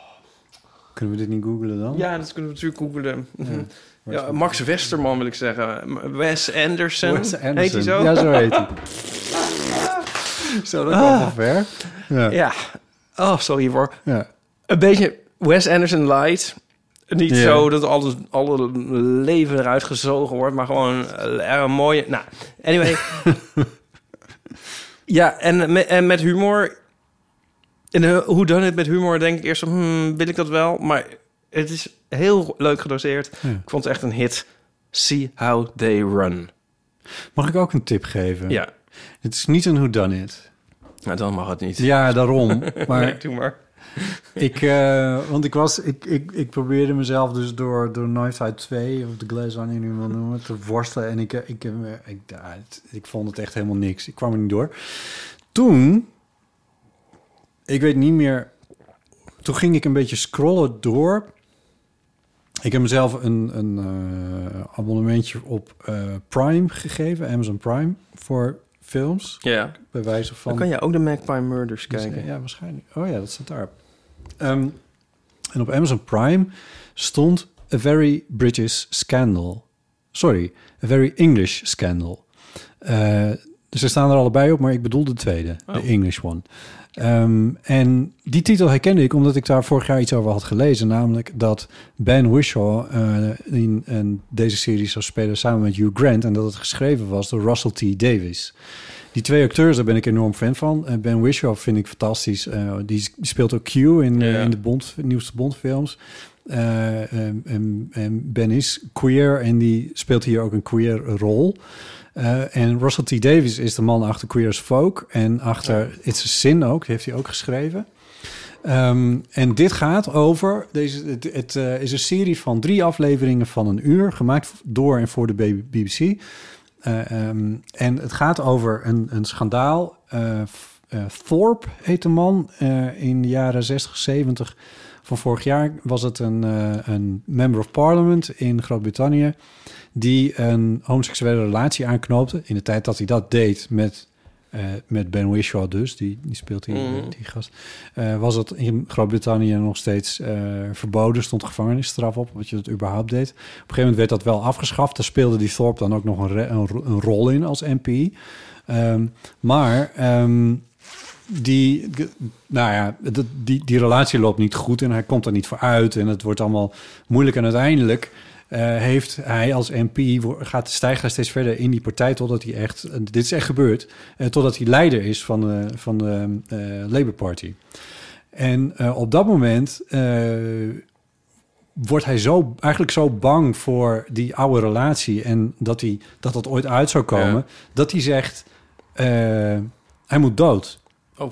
S4: Kunnen we dit niet googlen dan?
S3: Ja, dat kunnen we natuurlijk googelen. Mhm. Ja,
S4: Waar is dat?
S3: Max Westerman wil ik zeggen. Wes Anderson.
S4: Wes Anderson.
S3: Heet hij zo?
S4: Ja, zo Ah. heet hij. zo, dat kwam van ver. Ja. Ja.
S3: Ah. Ja. Oh, sorry voor. Een beetje Wes Anderson light. Niet
S4: Ja.
S3: zo dat alles, alle leven eruit gezogen wordt, maar gewoon er een mooie... Nou, anyway. ja, en, me- en met humor... En eh, hoe dan het met humor? Denk ik eerst van, hmm, wil ik dat wel? Maar het is heel leuk gedoseerd.
S4: Ja.
S3: Ik vond het echt een hit. See how they run.
S4: Mag ik ook een tip geven?
S3: Ja,
S4: Het is niet een whodunit.
S3: nou dan mag het niet.
S4: Ja, daarom. Maar
S3: Nee, doe maar.
S4: Ik, eh, want ik was, ik, ik, ik probeerde mezelf dus door, door Knives Out 2 of de Glass Onion, nu wil noemen, te worstelen. En ik, eh, ik, eh, ik, ja, het- ik vond het echt helemaal niks. Ik kwam er niet door. Toen, ik weet niet meer, toen ging ik een beetje scrollen door. Ik heb mezelf een, een eh, abonnementje op eh, Prime gegeven, Amazon Prime, voor films.
S3: Ja.
S4: Bij wijze van...
S3: Dan kan je ook de Magpie Murders kijken.
S4: Ja, waarschijnlijk. Oh ja, dat staat daar. Ehm, en op Amazon Prime stond A Very British Scandal. Sorry, A Very English Scandal. Eh, dus ze staan er allebei op, maar ik bedoel de tweede, de English one. Ehm, en die titel herkende ik omdat ik daar vorig jaar iets over had gelezen. Namelijk dat Ben Whishaw eh, in, in deze serie zou spelen samen met Hugh Grant. En dat het geschreven was door Russell T. Davis. Die twee acteurs, daar ben ik enorm fan van. Eh, ben Whishaw vind ik fantastisch. Eh, die s- speelt ook Q in, eh,
S3: Ja.
S4: in de Bond, nieuwste Bondfilms. Eh, en, en- en ben is queer en die speelt hier ook een queer rol. Eh, en Russell T. Davis is de man achter Queer as Folk en achter It's a Sin ook, die heeft hij ook geschreven. Ehm, en dit gaat over, deze, het, het eh, is een serie van drie afleveringen van een uur, gemaakt door en voor de BBC. Eh, ehm, en het gaat over een, een schandaal. Eh, F- eh, Thorpe heet de man. Eh, in de jaren 60, 70 van vorig jaar was het een, eh, een member of parliament in Groot-Brittannië... die een homoseksuele relatie aanknoopte. In de tijd dat hij dat deed met, eh, met Ben Whishaw dus, die, die speelt die,
S3: Mhm.
S4: die gast... eh, was het in Groot-Brittannië nog steeds eh, verboden. stond gevangenisstraf op, wat je dat überhaupt deed. Op een gegeven moment werd dat wel afgeschaft. Daar speelde die Thorpe dan ook nog een, re- een, ro- een rol in als MP. Ehm, maar ehm, die, de- nou ja, dat- die, die relatie loopt niet goed en hij komt er niet voor uit en het wordt allemaal moeilijk. En uiteindelijk eh, heeft hij als MP, wo- gaat stijgt hij steeds verder in die partij totdat hij echt, en dit is echt gebeurd, eh, totdat hij leider is van de, van de eh, Labour Party. En eh, op dat moment eh, wordt hij zo, eigenlijk zo bang voor die oude relatie en dat hij, dat, dat ooit uit zou komen,
S3: Ja.
S4: dat hij zegt, eh, hij moet dood.
S3: Oh,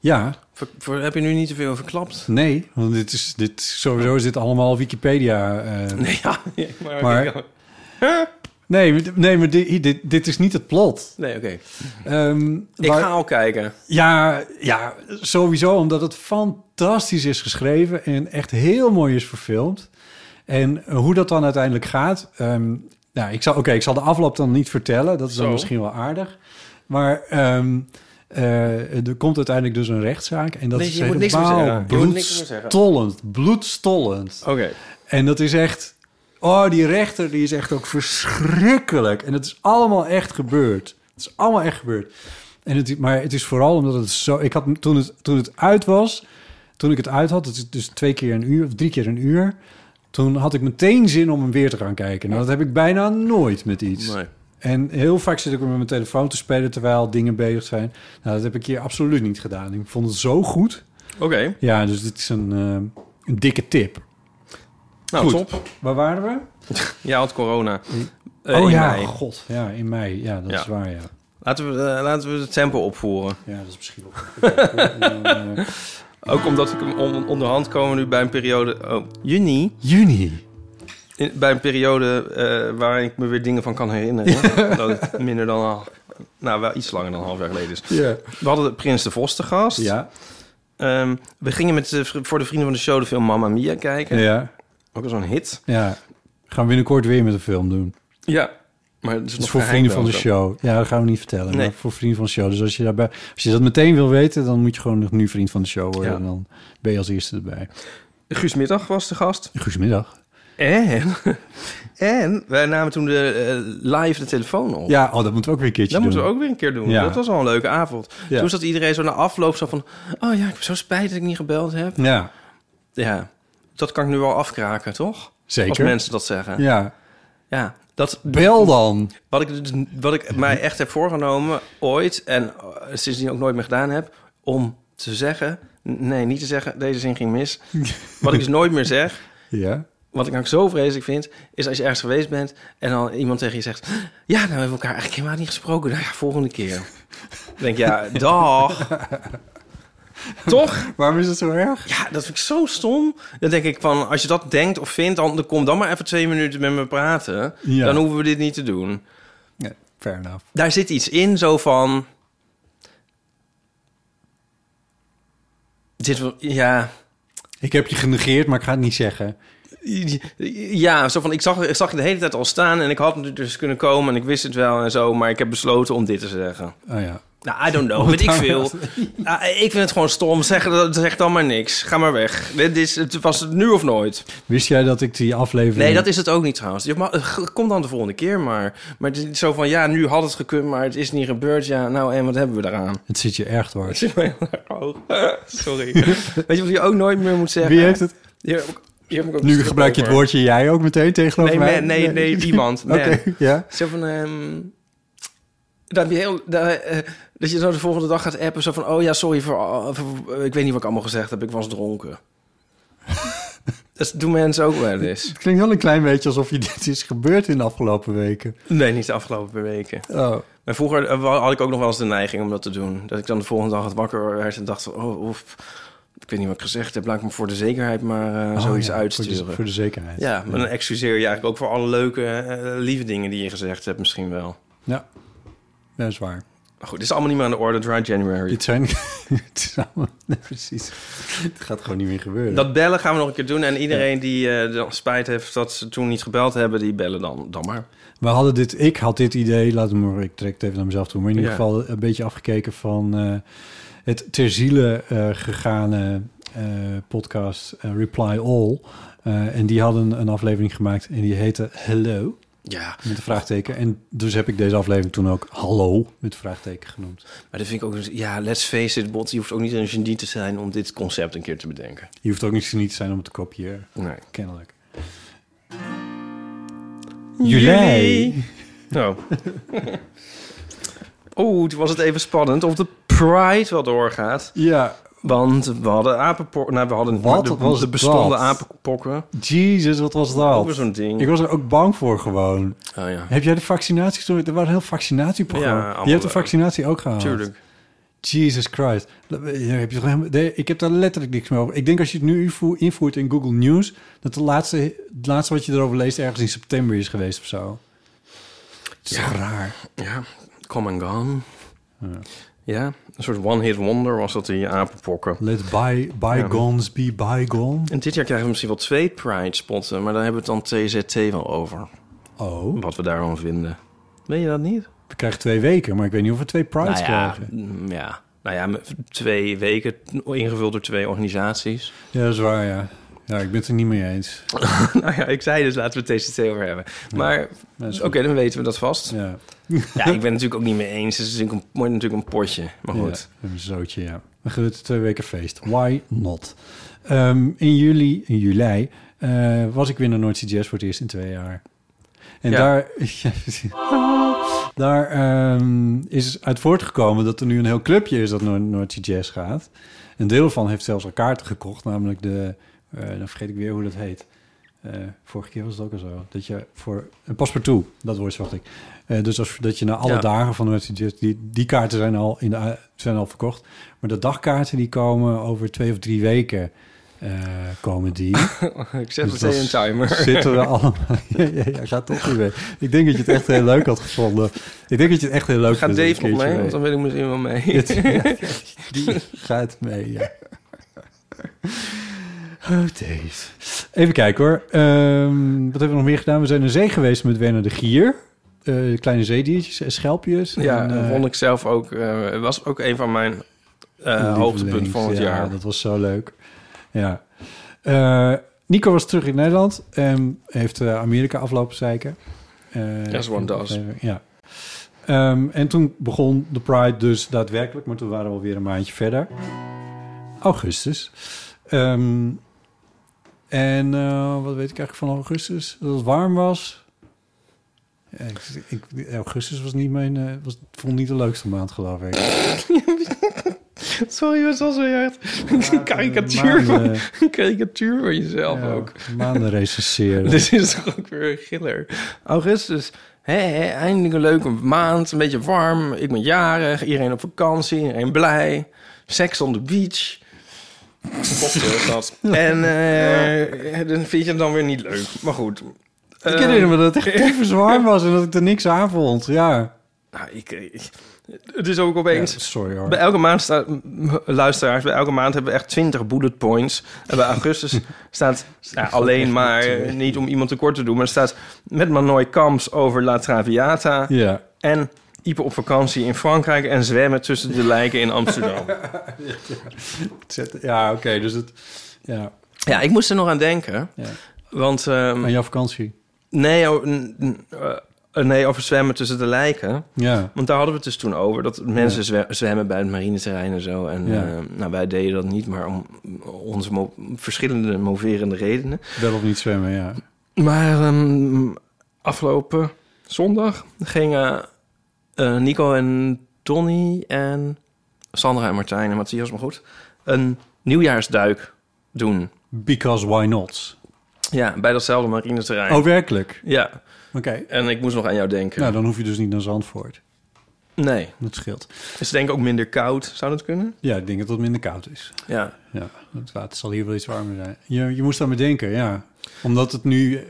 S4: Ja,
S3: ver- ver- heb je nu niet te veel verklapt?
S4: nee, want dit is, dit, sowieso is dit allemaal Wikipedia. eh.
S3: Nee, ja. maar,
S4: Maar- nee, maar- nee, maar dit, dit, dit is niet het plot.
S3: Nee, oké.
S4: Ehm,
S3: Ik
S4: waar-
S3: ga al kijken.
S4: ja, ja, sowieso, omdat het fantastisch is geschreven en echt heel mooi is verfilmd. En eh, hoe dat dan uiteindelijk gaat, ehm, nou, ik zal, oké, ik zal de afloop dan niet vertellen, dat is dan
S3: Zo.
S4: misschien wel aardig. Maar ehm, eh, er komt uiteindelijk dus een rechtszaak en dat
S3: Nee,
S4: is
S3: je moet niks meer
S4: helemaal
S3: zeggen. Je moet niks meer zeggen.
S4: bloedstollend, bloedstollend.
S3: Oké.
S4: En dat is echt... Oh, die rechter die is echt ook verschrikkelijk. En het is allemaal echt gebeurd. Het is allemaal echt gebeurd. En het, maar het is vooral omdat het zo... Ik had, toen, het, toen het uit was, toen ik het uit had... Het is dus twee keer een uur of drie keer een uur... Toen had ik meteen zin om hem weer te gaan kijken. Nou, dat heb ik bijna nooit met iets.
S3: Nee.
S4: En heel vaak zit ik met mijn telefoon te spelen terwijl dingen bezig zijn. Nou, dat heb ik hier absoluut niet gedaan. Ik vond het zo goed.
S3: Oké.
S4: Ja, dus dit is een, eh, een dikke tip.
S3: Nou,
S4: Goed.
S3: top.
S4: Waar waren we?
S3: Jij had corona. Eh,
S4: oh
S3: in
S4: ja,
S3: mei.
S4: god. Ja, in mei. Ja, dat
S3: Ja.
S4: is waar, ja.
S3: Laten we, eh, laten we het tempo opvoeren.
S4: Ja, dat is misschien wel...
S3: Ook omdat ik hem on- onderhand komen nu bij een periode... Oh, juni.
S4: Juni.
S3: In- bij een periode eh, waarin ik me weer dingen van kan herinneren. dat het minder dan... al- Nou, wel iets langer dan een half jaar geleden is.
S4: Ja.
S3: We hadden Prins de Vos te gast.
S4: Ja.
S3: Ehm, we gingen met de, vri- voor de vrienden van de show de film Mamma Mia kijken.
S4: Ja.
S3: Ook al zo'n hit.
S4: Ja. Gaan we binnenkort weer met een film doen.
S3: Ja. Maar het is,
S4: Dat
S3: nog
S4: is voor
S3: geheim
S4: vrienden van de
S3: wel zo.
S4: show. Ja, dat gaan we niet vertellen.
S3: Nee.
S4: Maar voor vrienden van de show. Dus als je, daarbij, als je dat meteen wil weten, dan moet je gewoon nog nu vriend van de show worden.
S3: Ja.
S4: En dan ben je als eerste erbij.
S3: Guus Middag was de gast.
S4: Goedemiddag.
S3: En, en wij namen toen de, eh, live de telefoon op.
S4: Ja, oh, dat moeten we ook weer een keertje
S3: Dat
S4: doen.
S3: moeten we ook weer een keer doen.
S4: Ja.
S3: Dat was al een leuke avond.
S4: Ja.
S3: Toen zat iedereen zo na afloop zo van... Oh ja, ik heb zo spijt dat ik niet gebeld heb.
S4: Ja,
S3: Ja, dat kan ik nu wel afkraken, toch? Als
S4: zeker.
S3: mensen dat zeggen. Ja,
S4: Ja.
S3: dat...
S4: Bel dan.
S3: Wat ik, dus- wat ik mij echt heb voorgenomen ooit... en eh, sindsdien ook nooit meer gedaan heb... om te zeggen... Nee, niet te zeggen, deze zin ging mis. Wat ik dus nooit meer zeg...
S4: Ja.
S3: Wat ik nou zo vreselijk vind, is als je ergens geweest bent en dan iemand tegen je zegt: Ja, nou hebben we elkaar eigenlijk helemaal niet gesproken. Nou ja, volgende keer. Dan denk ik, ja, dag. Toch?
S4: Waarom is het zo erg?
S3: Ja, dat vind ik zo stom. Dan denk ik van, als je dat denkt of vindt, dan, dan kom dan maar even twee minuten met me praten.
S4: Ja.
S3: Dan hoeven we dit niet te doen.
S4: Ja, fair enough.
S3: Daar zit iets in zo van... Dit, wil- ja,
S4: Ik heb je genegeerd, maar ik ga het niet zeggen.
S3: Ja, zo van, ik, zag, ik zag je de hele tijd al staan en ik had natuurlijk dus kunnen komen en ik wist het wel en zo, maar ik heb besloten om dit te zeggen.
S4: Oh ja.
S3: Nou, I don't know, weet ik veel. Ah, ik vind het gewoon stom, zeg, dat- zeg dan maar niks. Ga maar weg. Dit is, het was het nu of nooit.
S4: Wist jij dat ik die aflevering...
S3: Nee, dat is het ook niet trouwens. Je mag, kom dan de volgende keer maar. Maar het is zo van, ja, nu had het gekund, maar het is niet gebeurd. Ja, nou en wat hebben we daaraan?
S4: Het zit je erg dwars.
S3: Oh, sorry. Weet je wat je ook nooit meer moet zeggen?
S4: Wie heeft het?
S3: Hier heb ik- hier heb ik ook een
S4: Nu
S3: stuk
S4: gebruik je het
S3: over.
S4: woordje jij ook meteen tegenover
S3: Nee,
S4: mij.
S3: man, nee, nee, iemand. Man.
S4: Oké, ja.
S3: Zo van... ehm, dat, je heel, dat, eh, dat je zo de volgende dag gaat appen. Zo van, oh ja, sorry voor... al- voor- eh, ik weet niet wat ik allemaal gezegd heb. Ik was dronken. dat doen mensen ook wel eens.
S4: Het klinkt wel een klein beetje alsof je dit is gebeurd in de afgelopen weken.
S3: Nee, niet de afgelopen weken.
S4: Oh.
S3: Maar vroeger eh, wa- had ik ook nog wel eens de neiging om dat te doen. Dat ik dan de volgende dag het wakker werd en dacht... van, Oh, of, ik weet niet wat ik gezegd heb. Laat ik me voor de zekerheid maar eh, zoiets
S4: Oh ja, Voor de,
S3: uitsturen.
S4: voor de zekerheid.
S3: Ja, maar dan excuseer je eigenlijk ook voor alle leuke, eh, lieve dingen die je gezegd hebt misschien wel.
S4: Ja. Ja, dat is waar.
S3: Maar goed, dit is allemaal niet meer aan de orde, Dry January.
S4: Dit zijn... het is allemaal- nee, precies. Het gaat gewoon niet meer gebeuren.
S3: Dat bellen gaan we nog een keer doen. En iedereen die eh, dan spijt heeft dat ze toen niet gebeld hebben, die bellen dan, dan maar.
S4: We hadden dit, ik had dit idee, laat me, ik trek het even naar mezelf toe, maar in ieder
S3: Ja.
S4: geval een beetje afgekeken van eh, het ter ziele eh, gegane eh, podcast eh, Reply All. Eh, en die hadden een aflevering gemaakt en die heette Hello
S3: Ja,
S4: met een vraagteken. En dus heb ik deze aflevering toen ook Hallo met vraagteken genoemd.
S3: maar dat vind ik ook... Ja, let's face it, Bot, je hoeft ook niet een genie te zijn om dit concept een keer te bedenken.
S4: Je hoeft ook niet zo niet te zijn om het te kopiëren,
S3: Nee.
S4: kennelijk. Juli.
S3: Nou. Oeh, toen was het even spannend of de Pride wel doorgaat.
S4: Ja,
S3: Want we hadden apenpokken... Nou, we hadden
S4: Wat
S3: de,
S4: was
S3: de bestonden
S4: dat?
S3: apenpokken.
S4: Jesus, wat was
S3: Ook weer
S4: dat?
S3: zo'n ding.
S4: Ik was er ook bang voor gewoon.
S3: Oh ja.
S4: Heb jij de vaccinaties toen? Er was een heel
S3: Ja,
S4: vaccinatieprogramma.
S3: allemaal
S4: je hebt de
S3: wel.
S4: vaccinatie ook gehaald.
S3: Tuurlijk.
S4: Jesus Christ. Ja, heb je toch helemaal- nee, Ik heb daar letterlijk niks meer over. Ik denk als je het nu invo- invoert in Google News... dat de laatste, het laatste wat je erover leest ergens in september is geweest of zo. Het is toch raar.
S3: Ja, come and gone. Ja, een soort one-hit wonder was dat die apenpokken.
S4: Let by, bygones be bygone.
S3: En dit jaar krijgen we misschien wel twee Pride-spotten, maar daar hebben we het dan TZT wel over.
S4: Oh,
S3: Wat we daarvan vinden. Weet je dat niet?
S4: we krijgen twee weken, maar ik weet niet of we twee prides
S3: Nou ja,
S4: krijgen.
S3: mm, ja. Nou ja, met twee weken ingevuld door twee organisaties.
S4: Ja, dat is waar, ja. Ja, ik ben het er niet mee eens.
S3: nou ja, ik zei dus laten we het TZT over hebben. Maar
S4: is
S3: oké,
S4: goed.
S3: dan weten we dat vast. Ja.
S4: Ja,
S3: ik ben het natuurlijk ook niet mee eens. Het is natuurlijk een, wordt natuurlijk een potje. Maar goed.
S4: Ja, een zootje, ja. Maar goed, twee weken feest. Why not? Ehm, in juli, in juli, eh, was ik weer naar Noordse Jazz voor het eerst in twee jaar. En
S3: Ja.
S4: daar, ja, precies. daar ehm, is uit voortgekomen dat er nu een heel clubje is dat naar Noordse Jazz gaat. Een deel van heeft zelfs al kaarten gekocht, namelijk de, eh, dan vergeet ik weer hoe dat heet. Eh, vorige keer was het ook al zo. Dat je voor een paspartout, dat woord zocht ik. Eh, dus als, dat je na alle
S3: Ja.
S4: dagen van de Noordse Jazz, die, die kaarten zijn al, in de, eh, zijn al verkocht. Maar de dagkaarten die komen over twee of drie weken, eh, komen die.
S3: Ik zet
S4: Dus
S3: meteen een
S4: dan
S3: timer.
S4: Zitten we allemaal. ja, ja, ja, gaat toch weer weg. Ik denk dat je het echt heel leuk had gevonden. Ik denk dat je het echt heel leuk
S3: Gaat
S4: vindt om
S3: Dave
S4: een
S3: nog
S4: keertje eh,
S3: mee? Want dan wil ik misschien wel mee.
S4: Dit- ja, die gaat mee, ja. Oh, Dave. Even kijken hoor. Ehm, wat hebben we nog meer gedaan? We zijn naar zee geweest met Werner de Gier. Eh, kleine zeediertjes en schelpjes.
S3: Ja,
S4: en,
S3: dat
S4: eh,
S3: vond ik zelf ook. eh was ook een van mijn eh
S4: Lievelings,
S3: hoogtepunten van het
S4: ja,
S3: jaar.
S4: dat was zo leuk. Ja. Eh, Nico was terug in Nederland en heeft eh, Amerika aflopen zeiken. Eh,
S3: As one does.
S4: Ja. Ehm, en toen begon de Pride dus daadwerkelijk, maar toen waren we alweer een maandje verder. Augustus. Ehm, en eh, wat weet ik eigenlijk van augustus? Dat het warm was. Ja, ik, ik- augustus was niet mijn, eh, was, vond niet de leukste maand, geloof ik.
S3: Sorry, dat was weer echt een karikatuur, van,
S4: Maanden-
S3: een karikatuur van jezelf
S4: Ja,
S3: ook. Dus,
S4: Maanden recenseren.
S3: Dit is toch ook weer een giller. Augustus, hè, hè, eindelijk een leuke maand, een beetje warm. Ik ben jarig, iedereen op vakantie, iedereen blij. Seks on the beach. Cocktail dat. En eh dan vind je het dan weer niet leuk. Maar goed. eh,
S4: ik herinner me dat het echt even zwaar was en dat ik er niks aan vond. Ja.
S3: Nou, Eh, ik, ik, Het is ook opeens...
S4: Ja, sorry hoor.
S3: Bij elke maand staat, m- luisteraars, bij elke maand hebben we echt 20 bullet points. En bij augustus staat ja, alleen maar, eh, niet om iemand tekort te doen, maar er staat met Manoy Kamps over La Traviata.
S4: Ja.
S3: En Ipe op vakantie in Frankrijk en zwemmen tussen de lijken in Amsterdam.
S4: Ja, oké, dus het... Ja,
S3: ja, ik moest er nog aan denken.
S4: ja.
S3: Want ehm,
S4: Aan jouw vakantie.
S3: nee, oh, n- n- eh, nee, over zwemmen tussen de lijken.
S4: Ja.
S3: Want daar hadden we het dus toen over. Dat mensen zwe- zwemmen bij het marineterrein en zo. En
S4: Ja.
S3: eh, nou, wij deden dat niet, maar om onze mo- verschillende moverende redenen.
S4: Wel of niet zwemmen, ja.
S3: Maar ehm, afgelopen zondag gingen eh, Nico en Tony en Sandra en Martijn en Matthias, maar goed, een nieuwjaarsduik doen.
S4: Because why not?
S3: Ja, bij datzelfde marineterrein.
S4: Oh, werkelijk?
S3: Ja,
S4: Oké.
S3: en ik moest nog aan jou denken.
S4: Nou, dan hoef je dus niet naar Zandvoort.
S3: Nee,
S4: Dat scheelt.
S3: het is denk ik ook minder koud. Zou dat kunnen?
S4: Ja, ik denk dat het minder koud is.
S3: Ja.
S4: Ja, het water zal hier wel iets warmer zijn. Je, je moest aan me denken, ja. Omdat het nu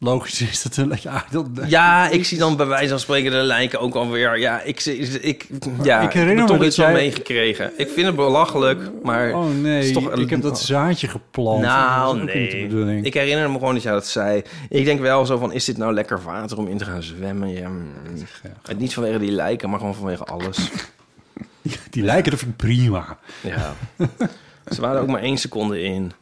S4: logisch is dat een ja, dat,
S3: Ja, ik zie dan bij wijze van spreken de lijken ook alweer. Ja, ik, zie- ik, ja,
S4: Ik
S3: ik
S4: herinner
S3: heb er
S4: me
S3: toch
S4: dat
S3: iets van
S4: jij-
S3: meegekregen. Ik vind het belachelijk, maar...
S4: Oh
S3: het
S4: nee,
S3: is toch-
S4: ik heb dat zaadje geplant. Dat
S3: Nou,
S4: is ook niet de
S3: nee.
S4: bedoeling.
S3: Ik herinner me gewoon dat jij dat zei. Ik denk wel zo van, is dit nou lekker water om in te gaan zwemmen? Ja, mm. Het Niet vanwege die lijken, maar gewoon vanwege alles.
S4: Die lijken er vind ik prima.
S3: Ja. Ze waren er ook maar één seconde in.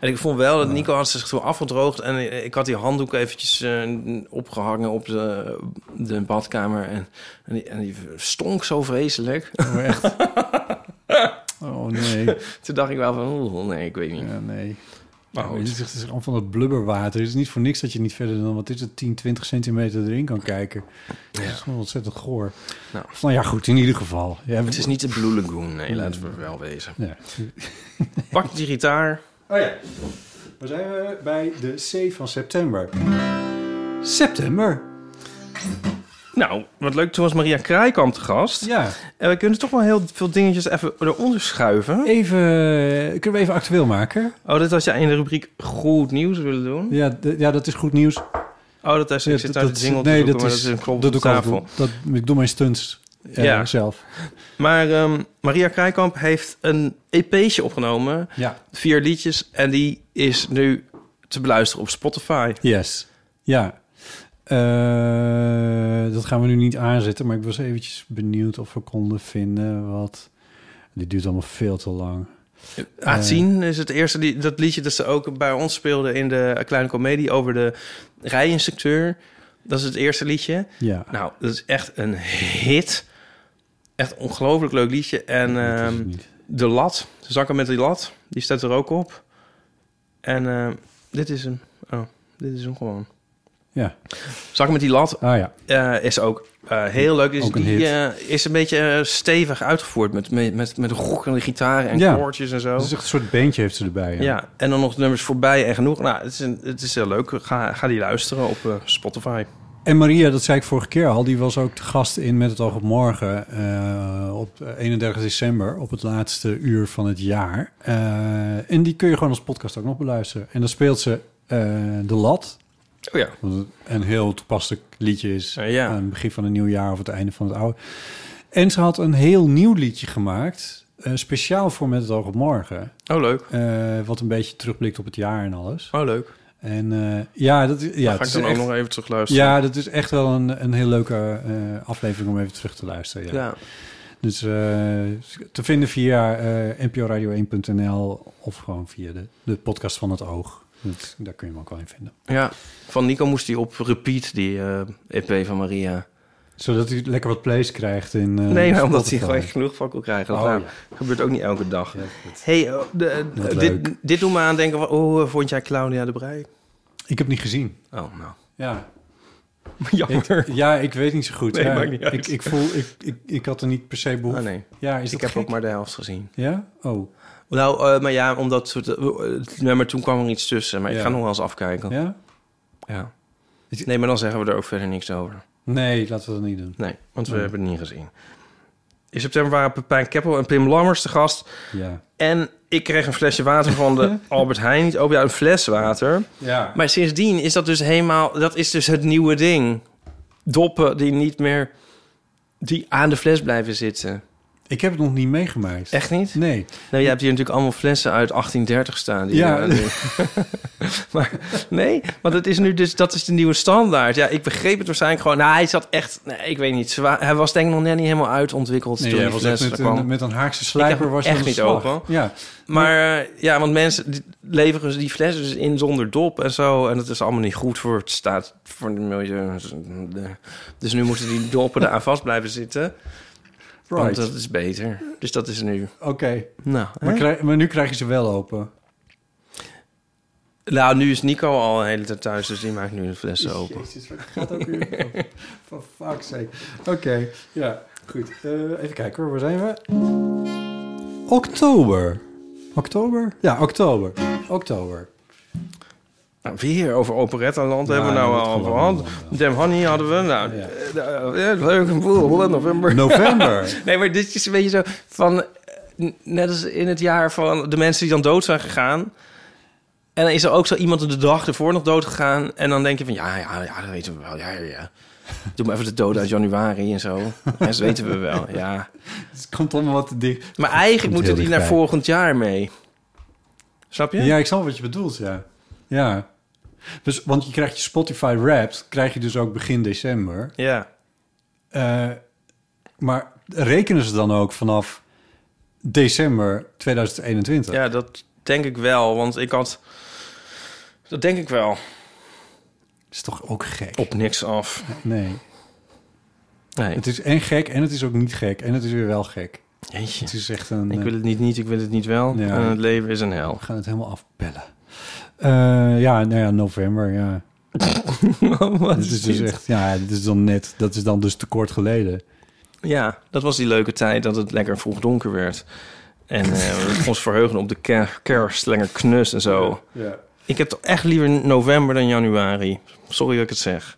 S3: En ik vond wel dat Nico had zich toen afgedroogd... en ik had die handdoek eventjes eh, opgehangen op de, de badkamer... En, en, die, en die stonk zo vreselijk.
S4: Oh, echt. Oh nee,
S3: Toen dacht ik wel van, oeh, nee, ik weet niet.
S4: ja, nee.
S3: Maar
S4: Maar
S3: goed.
S4: het is echt allemaal van dat blubberwater. Het is niet voor niks dat je niet verder dan wat is het 10, 20 centimeter erin kan kijken. Dat is gewoon ontzettend goor.
S3: Nou.
S4: Nou. nou ja, goed, in ieder geval. Ja,
S3: Het is niet de Blue Lagoon, nee, laten we wel wezen.
S4: Ja.
S3: Pak die gitaar.
S4: Oh ja, we zijn we bij de C van september. September?
S3: Nou, wat leuk, toen was Maria Kraaikamp te gast.
S4: Ja.
S3: En we kunnen toch wel heel veel dingetjes even eronder schuiven.
S4: Even, kunnen we even actueel maken?
S3: Oh, dit had jij in de rubriek goed nieuws willen doen.
S4: Ja, d- ja dat is goed nieuws.
S3: Oh, dat is, ik
S4: Ja,
S3: zit daar de jingle te zoeken, maar dat is een klop
S4: dat
S3: op
S4: doe ik
S3: tafel.
S4: altijd. Dat, ik doe mijn stunts eh,
S3: Ja.
S4: zelf.
S3: Maar ehm, Maria Kraaikamp heeft een EP'tje opgenomen.
S4: Ja.
S3: Vier liedjes. En die is nu te beluisteren op Spotify.
S4: Yes. Ja. Eh, dat gaan we nu niet aanzetten, maar ik was eventjes benieuwd of we konden vinden wat... Dit duurt allemaal veel te lang. Eh.
S3: Aanzien is het eerste lied, dat liedje dat ze ook bij ons speelde in de Kleine Comedie over de rijinstructeur. Dat is het eerste liedje.
S4: Ja.
S3: Nou, dat is echt een hit. Echt een ongelooflijk leuk liedje. En
S4: dat is
S3: ehm,
S4: het niet.
S3: de lat, de zakken met die lat, die staat er ook op. En ehm, dit is hem. Oh, dit is hem gewoon.
S4: Ja.
S3: Zakken met die lat
S4: Ah ja.
S3: eh, is ook eh, heel leuk. Is,
S4: Ook een
S3: die
S4: hit.
S3: eh, is een beetje eh, stevig uitgevoerd met, met, met, met rockende gitaren en
S4: Ja.
S3: koortjes en zo.
S4: Dat is echt een soort beentje heeft ze erbij.
S3: Ja. en dan nog de nummers voorbij en genoeg. Nou, het is, een, het is heel leuk. Ga, ga die luisteren op eh, Spotify.
S4: En Maria, dat zei ik vorige keer al, die was ook te gast in Met het Oog op Morgen eh, op 31 december, op het laatste uur van het jaar. Eh, en die kun je gewoon als podcast ook nog beluisteren. En dan speelt ze eh, De Lat,
S3: Oh ja.
S4: wat een heel toepasselijk liedje is
S3: Eh, ja.
S4: aan het begin van een nieuw jaar of het einde van het oude. En ze had een heel nieuw liedje gemaakt, eh, speciaal voor Met het Oog op Morgen,
S3: Oh, leuk.
S4: eh, wat een beetje terugblikt op het jaar en alles.
S3: Oh, leuk.
S4: En eh, ja, dat, is- ja,
S3: ga
S4: het
S3: ik
S4: is
S3: dan
S4: echt-
S3: ook nog even terug luisteren.
S4: ja, dat is echt wel een, een heel leuke eh, aflevering om even terug te luisteren. Ja.
S3: ja.
S4: Dus eh, te vinden via eh nporadio1.nl of gewoon via de, de podcast van het oog. Dat- daar kun je hem ook wel in vinden.
S3: Ja, van Nico moest hij op repeat, die eh, EP van Maria.
S4: Zodat hij lekker wat plays krijgt in eh,
S3: nee, maar omdat hij
S4: Spotify.
S3: gewoon genoeg van kon krijgen. Dat
S4: Oh,
S3: nou,
S4: ja.
S3: gebeurt ook niet elke dag.
S4: Ja, goed.
S3: hey, eh, de-
S4: Wat
S3: eh,
S4: leuk.
S3: dit, dit doet me aan denken van... Oh, eh, vond jij Claudia de Brij?
S4: Ik heb niet gezien.
S3: Oh, nou.
S4: Ja, ik,
S3: Jammer.
S4: ja, ik weet niet zo goed.
S3: Nee,
S4: ja,
S3: maakt niet uit.
S4: Ik, ik, voel, ik, ik, ik had er niet per se behoefte.
S3: Ah, nee.
S4: Ja, is
S3: Ik
S4: dat
S3: heb
S4: gek?
S3: ook maar de helft gezien.
S4: Ja? Oh,
S3: Nou, eh, maar ja, omdat... we de- eh, nee, maar toen kwam er iets tussen. Maar ik
S4: Ja.
S3: ga nog wel eens afkijken. Ja.
S4: ja?
S3: Nee, maar dan zeggen we er ook verder niks over.
S4: Nee, laten we dat niet doen.
S3: Nee, want we
S4: Nee.
S3: hebben het niet gezien. In september waren Pepijn Keppel en Pim Lammers te gast.
S4: Ja.
S3: En ik kreeg een flesje water van de Albert Heijn. Niet, oh ja, een fles water.
S4: Ja.
S3: Maar sindsdien is dat dus helemaal... Dat is dus het nieuwe ding. Doppen die niet meer die aan de fles blijven zitten.
S4: Ik heb het nog niet meegemaakt.
S3: Echt niet?
S4: Nee.
S3: Nou, je hebt hier natuurlijk allemaal flessen uit 1830 staan. Die
S4: Ja.
S3: ja. maar nee, want het is nu dus, dat is de nieuwe standaard. Ja, ik begreep het waarschijnlijk gewoon. Nou, hij zat echt, nee, ik weet niet, zwaar. Hij was denk ik nog net niet helemaal uitontwikkeld
S4: Nee,
S3: toen
S4: jij
S3: die
S4: was echt
S3: fles er
S4: met,
S3: kwam.
S4: een, met een Haagse slijper
S3: hem
S4: was je aan
S3: echt
S4: de
S3: niet
S4: slag.
S3: open.
S4: Ja.
S3: Maar eh, ja, want mensen die leveren ze die flessen dus in zonder dop en zo. En dat is allemaal niet goed voor het staat voor de milieu. Dus nu moeten die doppen eraan vast blijven zitten. Want
S4: Right.
S3: dat is beter. Dus dat is nu.
S4: Oké.
S3: Nou, hè?
S4: Maar, krijg- maar nu krijg je ze wel open.
S3: nou, nu is Nico al een hele tijd thuis, dus die maakt nu de flessen open.
S4: Jezus, wat gaat ook weer? Van fuck's sake. Oké, ja, goed. Eh, even kijken hoor, waar zijn we? Oktober. Oktober? Ja, oktober. Oktober.
S3: Nou, weer over operettaland
S4: Ja,
S3: hebben we nou
S4: dat
S3: al
S4: geloof
S3: gehad.
S4: ik wel,
S3: Dem Honey hadden we. Nou,
S4: Ja.
S3: eh, eh, leuk en boel, november.
S4: November.
S3: Nee, maar dit is een beetje zo van... eh, Net als in het jaar van de mensen die dan dood zijn gegaan. En dan is er ook zo iemand de dag ervoor nog dood gegaan. En dan denk je van, ja, ja, ja, dat weten we wel. Ja, ja, ja. Doe maar even de dood uit januari en zo. En dat weten we wel, ja.
S4: het komt allemaal wat te dicht.
S3: Maar eigenlijk moeten
S4: heel
S3: die naar
S4: dichtbij.
S3: volgend jaar mee. Snap je?
S4: Ja, ik snap wat je bedoelt, ja. Ja. Dus, want je krijgt je Spotify Wrapped, krijg je dus ook begin december.
S3: Ja.
S4: Eh, maar rekenen ze dan ook vanaf december 2021?
S3: Ja, dat denk ik wel. Want ik had... Dat denk ik wel.
S4: is toch ook gek?
S3: Op niks af.
S4: Nee.
S3: Nee.
S4: Het is en gek en het is ook niet gek. En het is weer wel gek.
S3: Jeetje.
S4: Het is echt een...
S3: Ik wil het niet niet, ik wil het niet wel.
S4: Ja.
S3: En het leven is een hel.
S4: We gaan het helemaal afbellen. Eh, ja, nou ja, november, ja.
S3: Wat
S4: Dat is dus echt... Ja, dat is dan net... Dat is dan dus te kort geleden.
S3: Ja, dat was die leuke tijd dat het lekker vroeg donker werd. En eh, we ons verheugen op de ker- kerst, lekker knus en zo.
S4: Ja.
S3: Ik heb toch echt liever november dan januari. Sorry dat ik het zeg.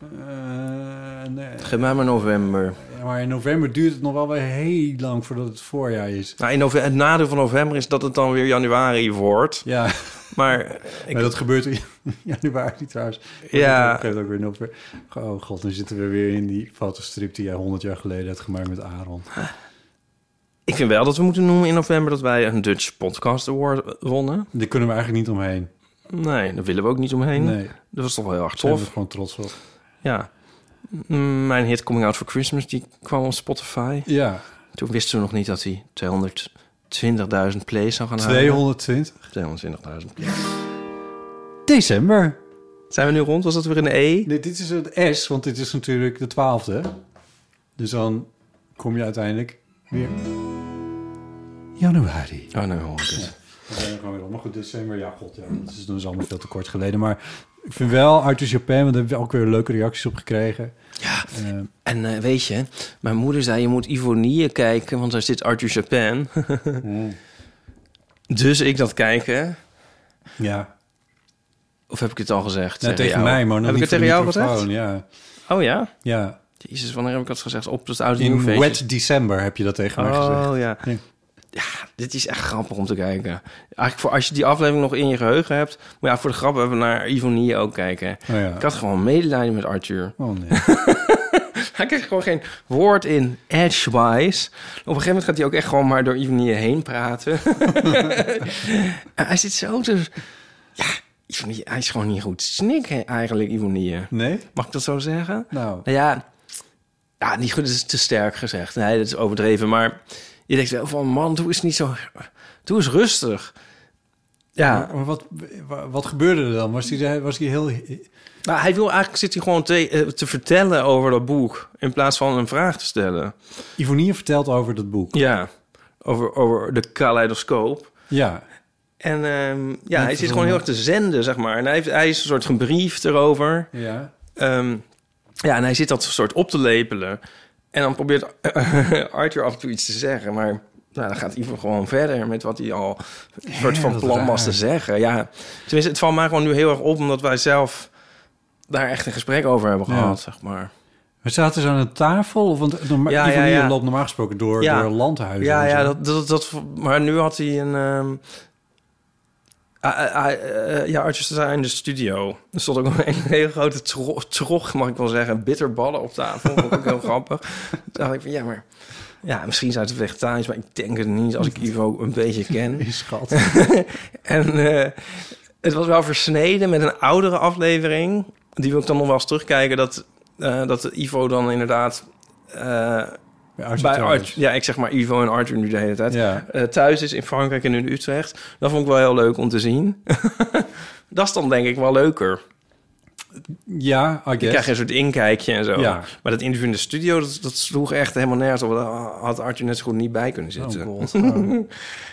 S4: Eh, nee.
S3: Geef mij maar november.
S4: Maar in november duurt het nog wel weer heel lang voordat het voorjaar is.
S3: Nou, in nove- het nadeel van november is dat het dan weer januari wordt.
S4: Ja,
S3: Maar
S4: maar dat gebeurt in januari trouwens.
S3: Ja.
S4: Dat geeft ook weer november. Oh god, dan zitten we weer in die fotostrip die jij 100 jaar geleden had gemaakt met Aaron.
S3: ik vind wel dat we moeten noemen in november dat wij een Dutch Podcast Award wonnen.
S4: Daar kunnen we eigenlijk niet omheen.
S3: Nee, daar willen we ook niet omheen.
S4: Nee,
S3: Dat was toch wel heel erg
S4: zijn
S3: tof.
S4: we gewoon trots op.
S3: Ja. Mm, Mijn hit Coming Out for Christmas, die kwam op Spotify.
S4: Ja,
S3: Toen wisten we nog niet dat hij 220.000 plays zou gaan halen.
S4: 220.
S3: 220.000 plays.
S4: December.
S3: Zijn we nu rond? Was dat weer een E?
S4: Nee, dit is het S, want dit is natuurlijk de twaalfde. Dus dan kom je uiteindelijk weer... Januari.
S3: Oh, nee, hoor ik het.
S4: Dan zijn we gewoon weer op. Maar goed, december, ja, god, ja. Dat is dus allemaal veel te kort geleden. Maar ik vind wel, Arthur Chopin, want daar hebben we ook weer leuke reacties op gekregen.
S3: Ja,
S4: Eh,
S3: en eh, weet je, mijn moeder zei... je moet Ivonie kijken, want daar zit Arthur Chapin.
S4: Mm.
S3: dus ik dat kijken.
S4: ja,
S3: Of heb ik het al gezegd?
S4: nou, tegen
S3: jou?
S4: mij, maar nog
S3: Heb ik
S4: niet
S3: het tegen
S4: voor de
S3: jou
S4: microfoon,
S3: gezegd?
S4: Ja,
S3: Oh ja?
S4: ja.
S3: Jezus, wanneer heb ik dat gezegd? Op het oude
S4: In
S3: nieuwfeestje.
S4: Wet December heb je dat tegen mij gezegd.
S3: Oh ja.
S4: Ja.
S3: ja. dit is echt grappig om te kijken. Eigenlijk voor als je die aflevering nog in je geheugen hebt. Maar ja, voor de grap hebben we naar Ivonie ook kijken.
S4: Oh ja.
S3: Ik had gewoon medelijden met Arthur.
S4: Oh nee.
S3: Hij kreeg gewoon geen woord in edgewise. Op een gegeven moment gaat hij ook echt gewoon maar door Ivonie heen praten. En hij zit zo te... Ja, Ivonie, hij is gewoon niet goed. Snikken eigenlijk, Ivonie.
S4: Nee?
S3: Mag ik dat zo zeggen?
S4: Nou,
S3: Nou ja, ja niet goed, dat is te sterk gezegd. Nee, dat is overdreven. Maar je denkt wel van, man, doe eens niet zo... Doe eens rustig. Ja,
S4: maar wat, wa- wat gebeurde er dan? Was hij was die heel...
S3: nou, hij wil eigenlijk, zit hij gewoon te, eh, te vertellen over dat boek... in plaats van een vraag te stellen.
S4: Ivonie vertelt over dat boek.
S3: Ja, over, over de kaleidoscoop.
S4: Ja.
S3: En ehm, ja, hij zit
S4: verzonnen.
S3: gewoon heel erg te zenden, zeg maar. En hij, heeft, hij is een soort gebriefd erover...
S4: Ja.
S3: Ehm, ja, en hij zit dat soort op te lepelen. En dan probeert Arthur af en toe iets te zeggen. Maar nou, dan gaat Ivo gewoon verder met wat hij al een soort van
S4: wat
S3: plan was
S4: raar.
S3: te zeggen. Ja, tenminste, het valt mij gewoon nu heel erg op... omdat wij zelf daar echt een gesprek over hebben
S4: Ja.
S3: gehad, zeg maar.
S4: We zaten ze aan een tafel? Of- Want norma-
S3: Ja, ja,
S4: Ivonie
S3: ja.
S4: loopt normaal gesproken door,
S3: Ja.
S4: door landhuizen.
S3: Ja,
S4: en
S3: ja
S4: zo.
S3: dat, dat, dat, maar nu had hij een... ehm, Ah, ah, eh, ja, Artjes zijn in de studio. Er stond ook een hele grote tro- trog, mag ik wel zeggen, bitterballen op tafel. Dat vond ik ook heel grappig. Toen dacht ik van, ja, maar... Ja, misschien zijn het vegetarisch, maar ik denk het niet als ik Ivo een beetje ken.
S4: Is schat.
S3: En eh, het was wel versneden met een oudere aflevering. Die wil ik dan nog wel eens terugkijken. Dat, eh, dat Ivo dan inderdaad... eh,
S4: Bij Archie
S3: bij
S4: Towers.
S3: Art, ja, ik zeg maar Ivo en Arthur nu de hele tijd.
S4: Ja.
S3: Eh, thuis is in Frankrijk en in Utrecht. Dat vond ik wel heel leuk om te zien. dat is dan denk ik wel leuker.
S4: Ja, I
S3: Je
S4: guess.
S3: krijgt een soort inkijkje en zo.
S4: Ja.
S3: Maar dat interview in de studio, dat, dat sloeg echt helemaal nergens op. Daar had Arthur net zo goed niet bij kunnen
S4: Oh
S3: zitten.
S4: god, arme,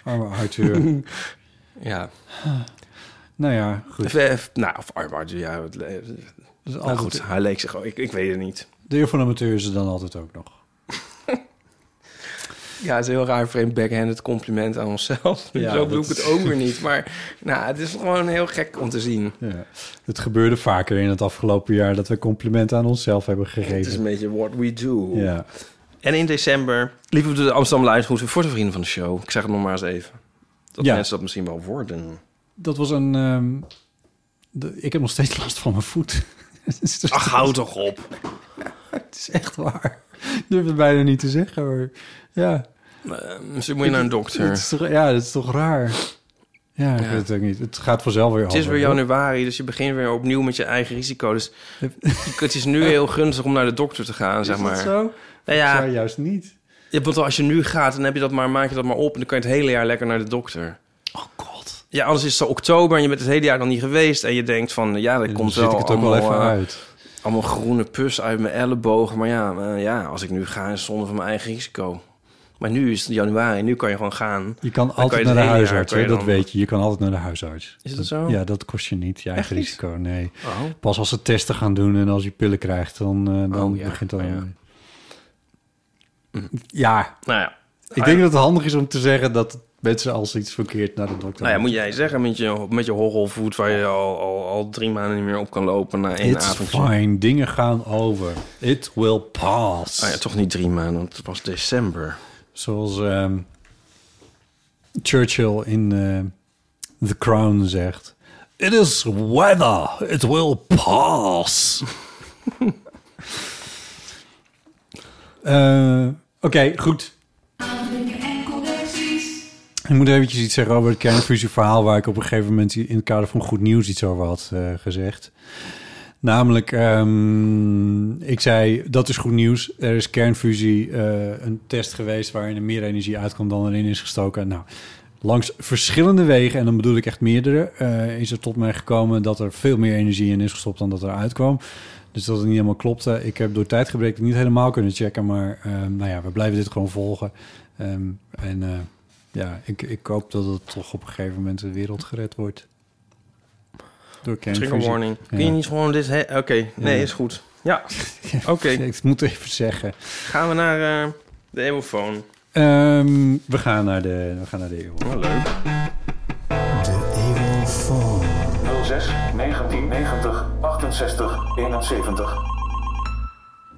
S4: arme Arthur.
S3: ja.
S4: nou ja, goed.
S3: Of, eh, nou, of arm Arthur, ja. Het, le-
S4: Dus
S3: nou
S4: altijd,
S3: goed, hij leek zich ook. Ik, ik weet het niet.
S4: De eeuw van de amateur is er dan altijd ook nog.
S3: Ja, het is een heel raar vreemd backhanded compliment aan onszelf.
S4: Ja,
S3: zo bedoel ik
S4: dat-
S3: het ook weer niet. Maar nou, het is gewoon heel gek om te zien.
S4: Ja. Het gebeurde vaker in het afgelopen jaar dat we complimenten aan onszelf hebben
S3: Het is een
S4: gegeven.
S3: beetje what we do.
S4: Ja.
S3: En in december liepen we door de Amsterdam Live voor de vrienden van de show. Ik zeg het nog maar eens even. Dat
S4: Ja.
S3: mensen dat misschien wel worden.
S4: Dat was een... ehm, de- ik heb nog steeds last van mijn voet. Het is dus-
S3: Ach, hou toch op.
S4: Het is echt waar. Ik durf het bijna niet te zeggen, maar ja.
S3: Eh, misschien moet je naar een dokter.
S4: Het is toch, ja, dat is toch raar. Ja, ik
S3: Ja.
S4: weet het ook niet. Het gaat vanzelf weer
S3: Het is
S4: over,
S3: weer
S4: hoor.
S3: januari, dus je begint weer opnieuw met je eigen risico. Dus het is nu heel gunstig om naar de dokter te gaan, zeg
S4: Is dat
S3: maar.
S4: zo?
S3: Nou
S4: Ja.
S3: ja,
S4: juist niet.
S3: ja, want als je nu gaat, dan heb je dat maar, maak je dat maar op. En dan kan je het hele jaar lekker naar de dokter.
S4: Oh god.
S3: Ja, anders is het zo oktober en je bent het hele jaar dan niet geweest. En je denkt van, ja, dat
S4: Dan
S3: komt
S4: zit
S3: wel
S4: ik het ook wel
S3: allemaal,
S4: even
S3: eh,
S4: uit.
S3: allemaal groene pus uit mijn ellebogen. Maar ja, eh, ja, als ik nu ga, is het zonde van mijn eigen risico. Maar nu is het januari, nu kan je gewoon gaan.
S4: Je kan altijd
S3: kan je het
S4: naar de
S3: hele jaar,
S4: huisarts,
S3: kan je
S4: hè, dat
S3: dan-
S4: weet je. Je kan altijd naar de huisarts.
S3: Is dat zo?
S4: Ja, dat kost je niet, je eigen
S3: niet? Oh.
S4: risico, nee. Pas als ze testen gaan doen en als je pillen krijgt, dan, eh, dan
S3: Oh, ja.
S4: begint dat...
S3: Oh, ja.
S4: ja.
S3: Nou ja.
S4: ik denk dat het handig is om te zeggen dat mensen als iets verkeerd naar de dokter
S3: Nou ja, moet jij zeggen met je, met je horrelvoet waar je al, al, al drie maanden niet meer op kan lopen na één
S4: It's
S3: avondje.
S4: fine, dingen gaan over. It will pass.
S3: Nou ja, toch niet drie maanden, want het was december.
S4: Zoals ehm, Churchill in eh, The Crown zegt. It is weather. It will pass. Eh, Oké, goed. Ik moet eventjes iets zeggen over het kernfusieverhaal... waar ik op een gegeven moment in het kader van Goed Nieuws iets over had eh, gezegd. Namelijk, ehm, ik zei, dat is goed nieuws. Er is kernfusie, eh, een test geweest waarin er meer energie uitkwam dan erin is gestoken. Nou, langs verschillende wegen, en dan bedoel ik echt meerdere, eh, is er tot mij gekomen dat er veel meer energie in is gestopt dan dat er uitkwam. Dus dat het niet helemaal klopte. Ik heb door tijdgebrek het niet helemaal kunnen checken, maar ehm, nou ja, we blijven dit gewoon volgen. Ehm, en eh, ja, ik, ik hoop dat het toch op een gegeven moment de wereld gered wordt. Door
S3: Trigger
S4: kernfusie.
S3: warning. Kun je niet gewoon dit... he- Oké, nee, is goed. Ja, oké.
S4: Ik moet even zeggen.
S3: Gaan we naar eh, de emofoon.
S4: Ehm, we, gaan naar de, we gaan naar de eeuw.
S3: Oh, leuk.
S5: 06 1990 68 71.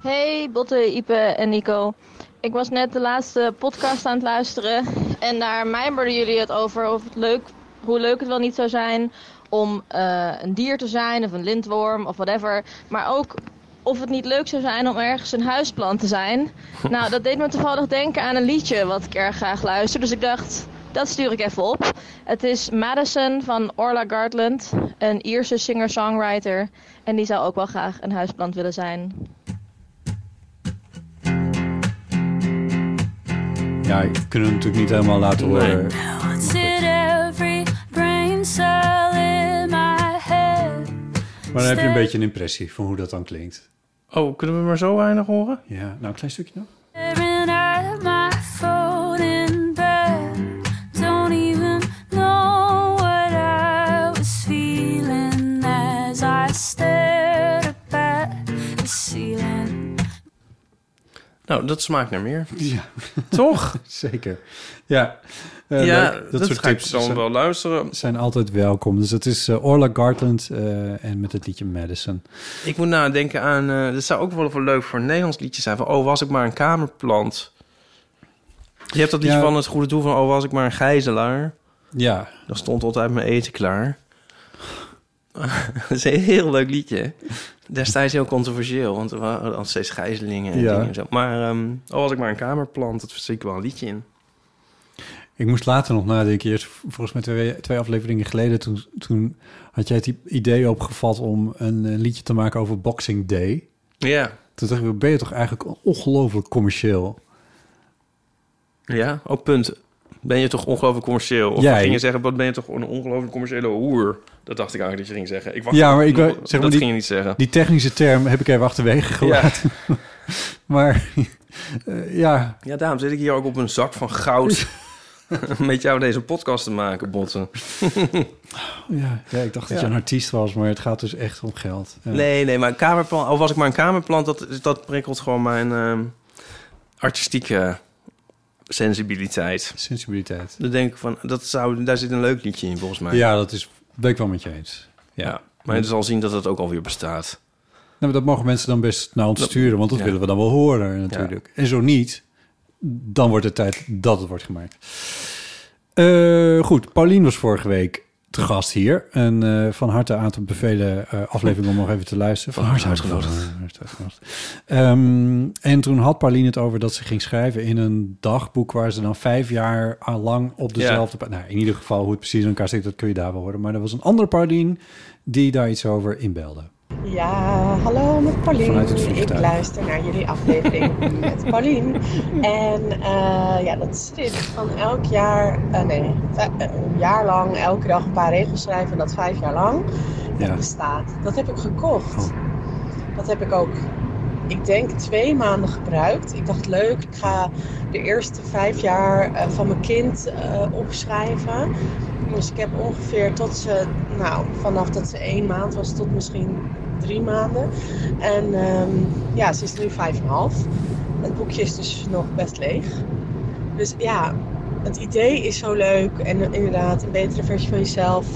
S6: Hey Botte, Ipe en Nico. Ik was net de laatste podcast aan het luisteren. En daar mijmerden jullie het over of het leuk, hoe leuk het wel niet zou zijn om eh, een dier te zijn of een lintworm of whatever. Maar ook of het niet leuk zou zijn om ergens een huisplant te zijn. Nou, dat deed me toevallig denken aan een liedje wat ik erg graag luister. Dus ik dacht, dat stuur ik even op. Het is Madison van Orla Gartland, een Ierse singer-songwriter. En die zou ook wel graag een huisplant willen zijn.
S4: Ja, ik kunnen het natuurlijk niet helemaal laten horen.
S7: Did every brain cell in my head.
S4: Maar dan heb je een beetje een impressie van hoe dat dan klinkt.
S3: Oh, kunnen we maar zo weinig horen?
S4: Ja, nou een klein stukje nog.
S7: Staring at my phone in bed. Don't even know what I was feeling as I stared up at the ceiling.
S3: Nou, dat smaakt naar meer.
S4: Ja,
S3: Toch?
S4: zeker. Ja, eh,
S3: ja,
S4: leuk.
S3: dat, soort
S4: soort tips eh,
S3: dan
S4: zijn,
S3: wel luisteren.
S4: zijn altijd welkom. Dus dat is eh, Orla Gartland eh, en met het liedje Madison.
S3: Ik moet nadenken aan... eh dit zou ook wel even leuk voor een Nederlands liedje zijn. Van, oh, was ik maar een kamerplant. Je hebt dat liedje
S4: Ja.
S3: van het goede doel van... Oh, was ik maar een gijzelaar.
S4: Ja,
S3: Dan stond altijd mijn eten klaar. dat is een heel leuk liedje. Destijds heel controversieel, want er waren al steeds gijzelingen en
S4: Ja.
S3: dingen en zo. Maar ehm al had ik maar een kamerplant, dat zie ik wel een liedje in.
S4: Ik moest later nog nadenken. Eerst, volgens mij twee, twee afleveringen geleden, toen, toen had jij het i- idee opgevat om een, eh, liedje te maken over Boxing Day.
S3: Ja,
S4: Toen dacht ik, ben je toch eigenlijk ongelooflijk commercieel?
S3: ja, ook punt. Ben je toch ongelooflijk commercieel? Of
S4: Ja,
S3: ging je
S4: ik-
S3: zeggen, wat ben je toch een ongelooflijk commerciële hoer? Dat dacht ik eigenlijk dat je ging zeggen. Ik wacht
S4: Ja,
S3: op-
S4: maar ik wou-
S3: dat
S4: zeg maar die-
S3: ging je niet zeggen.
S4: Die technische term heb ik even achterwege
S3: ja.
S4: gelaten. Maar eh, ja,
S3: ja, daarom zit ik hier ook op een zak van goud met jou deze podcast te maken, Botten.
S4: ja, ja, ik dacht dat je een artiest was, maar het gaat dus echt om geld. Ja.
S3: Nee, nee, maar een kamerplan, of was ik maar een kamerplant, dat, dat prikkelt gewoon mijn ehm, artistieke sensibiliteit.
S4: Sensibiliteit.
S3: Dan denk ik van, dat zou, daar zit een leuk liedje in volgens mij.
S4: Ja, dat is, ben ik wel met je eens.
S3: Ja. Maar je zal zien dat het ook alweer bestaat.
S4: Nou, maar dat mogen mensen dan best naar ons sturen, want dat
S3: ja.
S4: willen we dan wel horen natuurlijk. En zo niet, dan wordt het tijd dat het wordt gemaakt. Eh, goed, Paulien was vorige week te gast hier. En eh, van harte aan te bevelen eh, aflevering om nog even te luisteren. Van harte uitgenodigd. Van harte uitgenodigd. Ehm, en toen had Pauline het over dat ze ging schrijven in een dagboek... waar ze dan vijf jaar aan lang op dezelfde... pa- Nou, in ieder geval hoe het precies in elkaar zit, dat kun je daar wel horen. Maar er was een andere Pauline die daar iets over inbelde.
S8: Ja, hallo met Paulien.
S4: Vanuit het vliegtuig.
S8: Ik luister naar jullie aflevering met Paulien. En eh, ja, dat is dit. Van elk jaar, eh, nee, eh, een jaar lang elke dag een paar regels schrijven. En dat vijf jaar lang.
S4: Ja.
S8: Dat bestaat. Dat heb ik gekocht. Dat heb ik ook, ik denk, twee maanden gebruikt. Ik dacht, leuk, ik ga de eerste vijf jaar eh, van mijn kind eh, opschrijven. Dus ik heb ongeveer tot ze, nou, vanaf dat ze één maand was tot misschien drie maanden. En ehm, ja, ze is nu vijf en half. Het boekje is dus nog best leeg. Dus ja, het idee is zo leuk en inderdaad een betere versie van jezelf.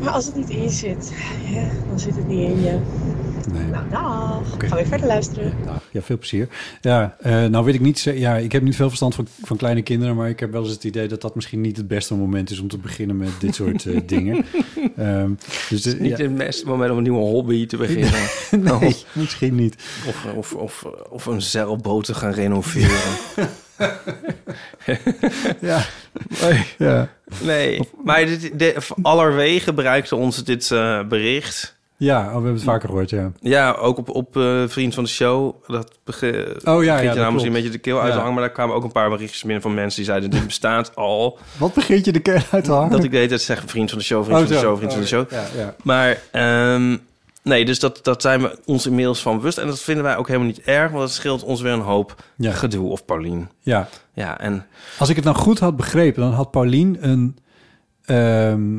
S8: Maar als het niet in je zit, ja, dan zit het niet in je.
S4: Nee.
S8: Nou, dag.
S4: Oké.
S8: Ga weer verder luisteren.
S4: Nou, ja, veel plezier. Ja, eh, nou weet ik niet. ze- Ja, ik heb niet veel verstand van, van kleine kinderen, maar ik heb wel eens het idee dat dat misschien niet het beste moment is om te beginnen met dit soort eh, dingen. Ehm, dus eh,
S3: Niet
S4: ja,
S3: het beste moment om een nieuwe hobby te beginnen.
S4: nee,
S3: Of-
S4: misschien niet.
S3: Of, of, of, of een zeilboot te gaan renoveren.
S4: Ja,
S3: Nee.
S4: ja.
S3: Nee. Maar dit, dit, allerwege gebruikte ons dit eh, bericht.
S4: ja oh, we hebben het vaker gehoord. Ja,
S3: Ja, ook op, op eh, Vriend van de Show. Dat bege-
S4: Oh, ja, ja,
S3: begint
S4: dat
S3: je nou
S4: klopt.
S3: misschien een beetje de keel uit te
S4: Ja.
S3: hangen. Maar daar kwamen ook een paar berichtjes binnen van mensen die zeiden... dit bestaat al.
S4: wat begint je de kern uit te hangen? Oh,
S3: Dat ik de hele tijd zeg Vriend van de Show, Vriend van de Show, Vriend van de Show.
S4: Ja, ja.
S3: Maar ehm, nee, dus dat, dat zijn we ons inmiddels van bewust. En dat vinden wij ook helemaal niet erg, want dat scheelt ons weer een hoop
S4: Ja.
S3: gedoe. Of Paulien.
S4: ja,
S3: Ja, en
S4: als ik het nou goed had begrepen, dan had Paulien een ehm,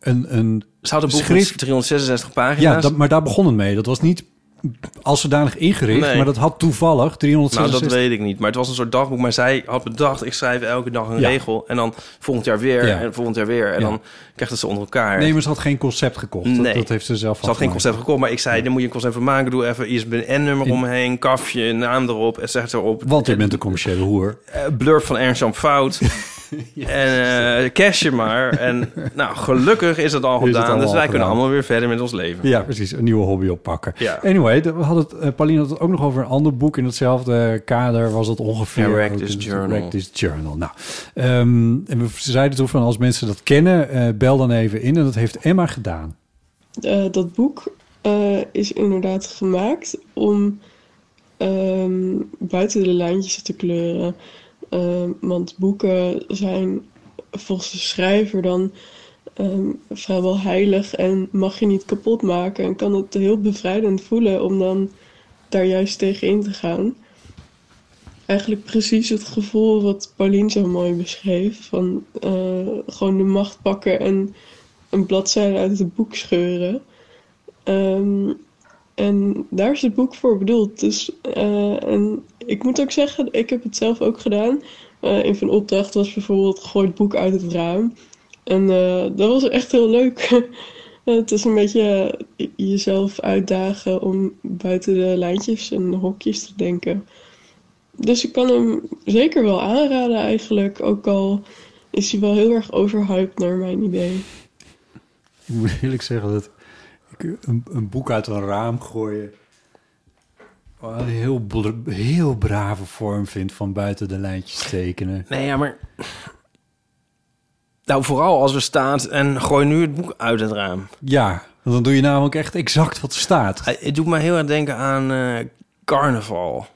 S4: een, een
S3: ze had een boek
S4: Schrift-
S3: met 366 pagina's. Nou,
S4: Ja, dat, maar daar begon het mee. Dat was niet als zodanig ingericht,
S3: Nee.
S4: maar dat had toevallig
S3: nou,
S4: 366...
S3: dat weet ik niet. Maar het was een soort dagboek. Maar zij had bedacht, ik schrijf elke dag een
S4: Ja.
S3: regel. En dan volgend jaar weer,
S4: Ja.
S3: en volgend jaar weer. En
S4: Ja.
S3: dan krijgt het ze onder elkaar.
S4: Nee, maar ze had geen concept gekocht.
S3: Nee.
S4: Dat, dat heeft ze zelf
S3: ze had geen
S4: afgemaakt.
S3: concept gekocht, maar ik zei, daar moet je een concept van maken. Doe even ISBN-nummer
S4: In-
S3: omheen, kafje, naam erop, et cetera. Op.
S4: Want je bent een commerciële hoer.
S3: eh, blurb van Ernst Jan Fout. En eh cash je maar. En nou, gelukkig is dat al
S4: Is het
S3: gedaan.
S4: allemaal
S3: dus wij
S4: al
S3: kunnen
S4: gedaan.
S3: allemaal weer verder met ons leven.
S4: Ja, precies. Een nieuwe hobby oppakken.
S3: Ja.
S4: Anyway, de- we hadden het, eh, Pauline had het ook nog over een ander boek. In hetzelfde kader was dat ongeveer.
S3: Ja, Wreck
S4: ook
S3: This
S4: in het-
S3: Journal.
S4: Wreck This Journal. Nou, ehm, en we zeiden toen van als mensen dat kennen, eh, bel dan even in. En dat heeft Emma gedaan.
S9: Eh, dat boek eh, is inderdaad gemaakt om ehm, buiten de lijntjes te kleuren. Ehm, want boeken zijn volgens de schrijver dan ehm, vrijwel heilig en mag je niet kapot maken. En kan het heel bevrijdend voelen om dan daar juist tegen in te gaan. Eigenlijk precies het gevoel wat Paulien zo mooi beschreef: van eh, gewoon de macht pakken en een bladzijde uit het boek scheuren. Ehm, en daar is het boek voor bedoeld. Dus, eh, en ik moet ook zeggen, ik heb het zelf ook gedaan. Eh een van de opdrachten was bijvoorbeeld: gooi het boek uit het raam. En eh, dat was echt heel leuk. Eh, het is een beetje eh, jezelf uitdagen om buiten de lijntjes en de hokjes te denken. Dus ik kan hem zeker wel aanraden, eigenlijk. Ook al is hij wel heel erg overhyped naar mijn idee.
S4: Ik moet eerlijk zeggen dat ik een, een boek uit een raam gooien wel een heel, bl- heel brave vorm vind van buiten de lijntjes tekenen.
S3: Nee, ja, maar... Nou, vooral als er staat en gooi nu het boek uit het raam.
S4: Ja, want dan doe je namelijk echt exact wat er staat.
S3: Eh, Het doet me heel erg denken aan eh, carnaval.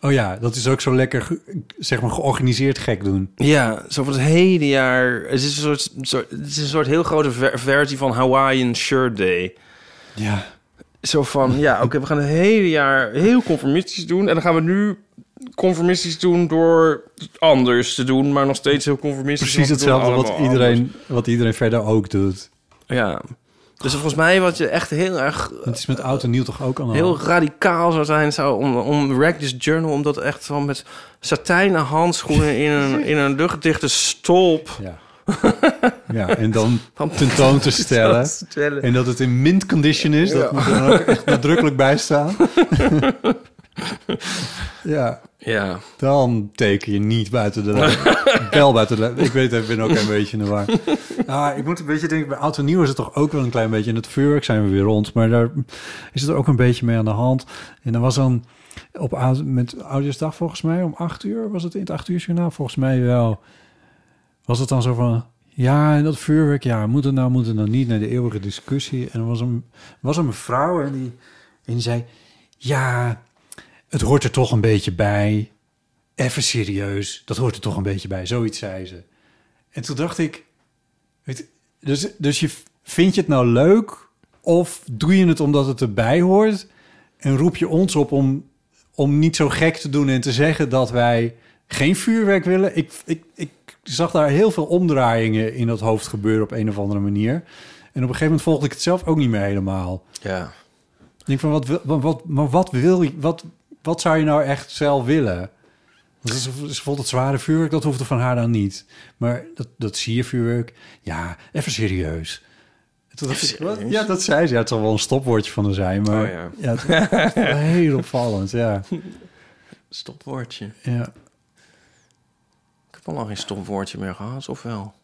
S4: Oh ja, dat is ook zo lekker, ge- zeg maar, georganiseerd gek doen.
S3: Ja, zo van het hele jaar. Het is een soort, soort- het is een soort heel grote ver- versie van Hawaiian Shirt Day.
S4: Ja.
S3: Zo van, ja, oké, we gaan het hele jaar heel conformistisch doen. En dan gaan we nu conformistisch doen door anders te doen, maar nog steeds heel conformistisch.
S4: Precies
S3: want we doen
S4: hetzelfde wat
S3: allemaal anders.
S4: iedereen, wat iedereen verder ook doet.
S3: Ja. Dus volgens mij wat je echt heel erg
S4: Het is met oud en nieuw toch ook allemaal.
S3: heel radicaal zou zijn zou om, om Rack This Journal, om dat echt van met satijnen handschoenen in een, in een luchtdichte stolp.
S4: Ja. Ja, en dan tentoon te stellen.
S3: te stellen.
S4: En dat het in mint condition is, dat moet er dan ook echt nadrukkelijk bij staan. ja,
S3: Ja.
S4: dan teken je niet buiten de lijn. Wel buiten de lijn. Ik weet het, ik ben ook een beetje in de war. Ah, ik moet een beetje denken, bij oud en nieuw is het toch ook wel een klein beetje... in het vuurwerk zijn we weer rond, maar daar is het ook een beetje mee aan de hand. En er was dan op, oud- met Oudjaarsdag volgens mij om acht uur... was het in het acht uur journaal volgens mij wel... was het dan zo van... Ja, en dat vuurwerk, ja, moet het nou, moet het nou niet... naar de eeuwige discussie. En er was een, was een mevrouw en die, en die zei... Ja, het hoort er toch een beetje bij. Even serieus, dat hoort er toch een beetje bij. Zoiets zei ze. En toen dacht ik... Weet, dus dus je, vind je het nou leuk? Of doe je het omdat het erbij hoort? En roep je ons op om, om niet zo gek te doen en te zeggen dat wij geen vuurwerk willen? Ik, ik, ik zag daar heel veel omdraaiingen in dat hoofd gebeuren op een of andere manier. En op een gegeven moment volgde ik het zelf ook niet meer helemaal.
S3: Ja.
S4: Ik denk van, wat, wil- wat, wat, maar wat wil je, wat, wat zou je nou echt zelf willen? Want ze, ze vond het zware vuurwerk, dat hoefde van haar dan niet. Maar dat, dat zie je vuurwerk, ja, even serieus. En toen dacht ik, wat? Ja, dat zei ze. Ja, het zal wel een stopwoordje van haar zijn, maar
S3: Oh ja.
S4: ja. het was heel opvallend, ja.
S3: Stopwoordje.
S4: ja.
S3: Ik heb al lang geen stopwoordje meer gehad, of wel?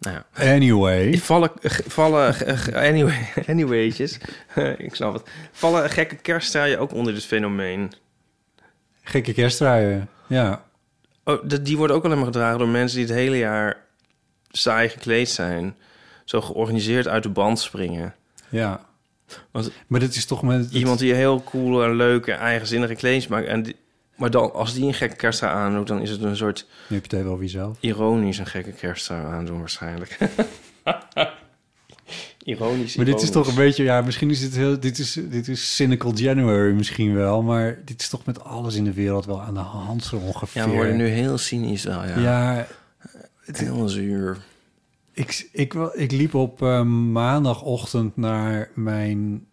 S3: Nou ja.
S4: Anyway,
S3: Vallen, ge- vallen ge- ge- anyway, anyway'tjes. ik snap het. Vallen gekke kerstdraaien ook onder dit fenomeen?
S4: gekke kerstruien, ja.
S3: Oh, dat- die worden ook alleen maar gedragen door mensen die het hele jaar saai gekleed zijn. Zo georganiseerd uit de band springen.
S4: ja.
S3: Want
S4: Maar dit is toch met...
S3: iemand die heel cool en leuke, eigenzinnige kleedjes maakt. En die- maar dan, als die een gekke kerstdraai aandoet, dan is het een soort
S4: Nu heb je het even over jezelf.
S3: ironisch een gekke kerstdraai aandoen waarschijnlijk. ironisch,
S4: Maar dit is
S3: ironisch.
S4: toch een beetje, ja, misschien is dit heel, dit is, dit is cynical January misschien wel, maar dit is toch met alles in de wereld wel aan de hand zo ongeveer.
S3: Ja, we worden nu heel cynisch al, ja.
S4: Ja,
S3: Heel zuur.
S4: ik, ik, wel- ik liep op eh, maandagochtend naar mijn,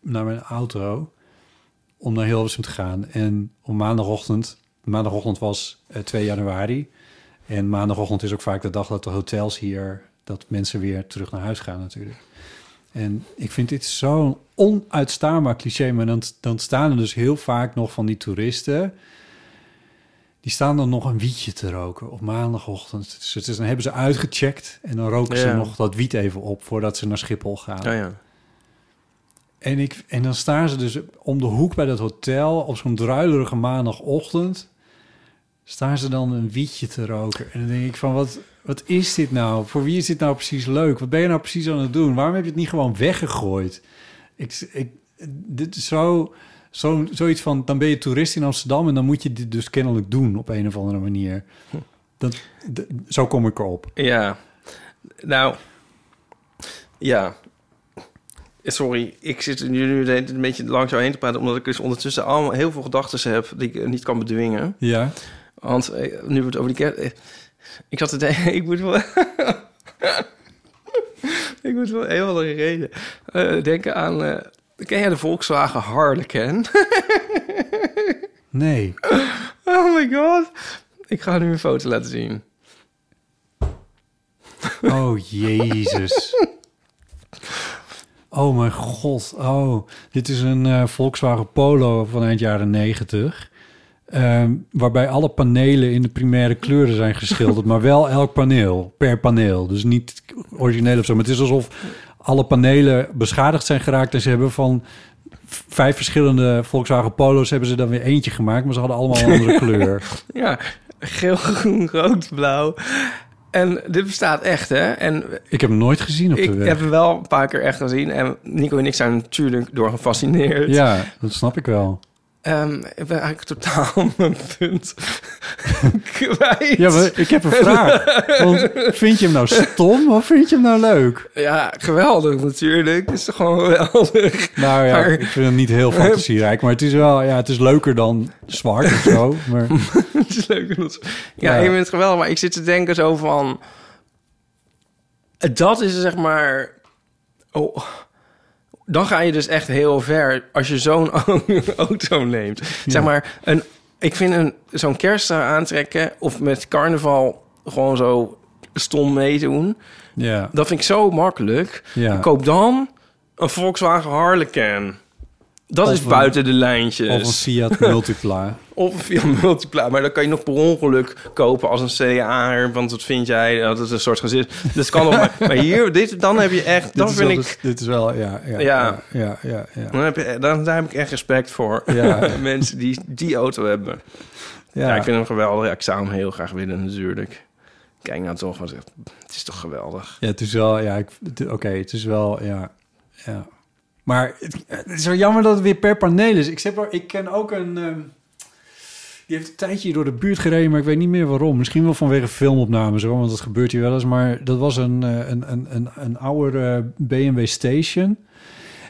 S4: naar mijn auto om naar Hilversum te gaan. En op maandagochtend, maandagochtend was eh, 2 januari. En maandagochtend is ook vaak de dag dat de hotels hier, dat mensen weer terug naar huis gaan natuurlijk. En ik vind dit zo'n onuitstaanbaar cliché. Maar dan, dan staan er dus heel vaak nog van die toeristen. Die staan dan nog een wietje te roken op maandagochtend. Dus het is, dan hebben ze uitgecheckt en dan roken ze
S3: Ja.
S4: nog dat wiet even op voordat ze naar Schiphol gaan.
S3: Oh Ja, ja.
S4: En, ik, en dan staan ze dus om de hoek bij dat hotel op zo'n druilerige maandagochtend. Staan ze dan een wietje te roken. En dan denk ik van, wat, wat is dit nou? Voor wie is dit nou precies leuk? Wat ben je nou precies aan het doen? Waarom heb je het niet gewoon weggegooid? Ik, ik, dit is zo, zo, zoiets van, dan ben je toerist in Amsterdam... en dan moet je dit dus kennelijk doen op een of andere manier. Dat, d- zo kom ik erop.
S3: Ja. Nou, ja. Sorry, ik zit nu nu de hele tijd een beetje langs jou heen te praten... omdat ik dus ondertussen allemaal heel veel gedachten heb... die ik eh, niet kan bedwingen.
S4: Ja,
S3: Want eh, nu we het over die kerst... eh, Ik zat te denken, ik moet wel... ik moet wel heel andere reden eh, denken aan... eh, ken jij de Volkswagen Harlequin?
S4: nee.
S3: oh my god. Ik ga nu een foto laten zien.
S4: Oh, jezus. Oh, mijn god. Oh, dit is een eh, Volkswagen Polo van eind jaren negentig. Ehm, waarbij alle panelen in de primaire kleuren zijn geschilderd, maar wel elk paneel per paneel. Dus niet origineel of zo. Maar het is alsof alle panelen beschadigd zijn geraakt en ze hebben van v- vijf verschillende Volkswagen Polo's hebben ze dan weer eentje gemaakt, maar ze hadden allemaal een andere kleur.
S3: Ja, geel, groen, rood, blauw. En dit bestaat echt, hè? En
S4: Ik heb hem nooit gezien op de
S3: ik
S4: weg.
S3: heb hem wel een paar keer echt gezien. En Nico en ik zijn natuurlijk door gefascineerd.
S4: Ja, dat snap ik wel.
S3: Ehm, ik ben eigenlijk totaal mijn punt kwijt.
S4: Ja, maar ik heb een vraag. Want vind je hem nou stom of vind je hem nou leuk?
S3: Ja, geweldig natuurlijk. Het is toch gewoon geweldig.
S4: Nou ja,
S3: Maar-
S4: ik vind hem niet heel fantasierijk, maar het is wel, ja, het is leuker dan zwart of zo. Maar
S3: het is leuk. om dat- Ja,
S4: Ja.
S3: ik vind het geweldig. Maar ik zit te denken zo van... Dat is zeg maar... Oh, dan ga je dus echt heel ver als je zo'n auto neemt. Zeg maar, een, ik vind een, zo'n kerstdraai aantrekken... of met carnaval gewoon zo stom meedoen...
S4: ja,
S3: dat vind ik zo makkelijk.
S4: Ja.
S3: Koop dan een Volkswagen Harlequin. Dat
S4: Of
S3: is
S4: een-
S3: buiten de
S4: of een
S3: lijntjes.
S4: Fiat Multipla.
S3: Of via Multipla. Maar dan kan je nog per ongeluk kopen als een CA'er. Want dat vind jij, dat is een soort gezin. Dus kan nog maar. Maar hier, dit, dan heb je echt... Dan
S4: dit, is
S3: vind
S4: wel,
S3: ik...
S4: dit is wel, ja, ja, ja,
S3: Ja.
S4: ja, ja, ja.
S3: Dan heb je, dan, daar heb ik echt respect voor.
S4: Ja.
S3: Mensen die die auto hebben. Ja. ik vind hem geweldig. Ja, ik zou hem heel graag willen natuurlijk. Kijk nou toch, want het het is toch geweldig.
S4: Ja, het is wel, ja, ik- het- oké, het is wel, ja, ja. Maar het, het is wel jammer dat het weer per paneel is. Ik, heb, wel- ik ken ook een, ehm, die heeft een tijdje hier door de buurt gereden, maar ik weet niet meer waarom. Misschien wel vanwege filmopnames, hoor, want dat gebeurt hier wel eens. Maar dat was een, eh, een, een, een, een oude eh, BMW Station.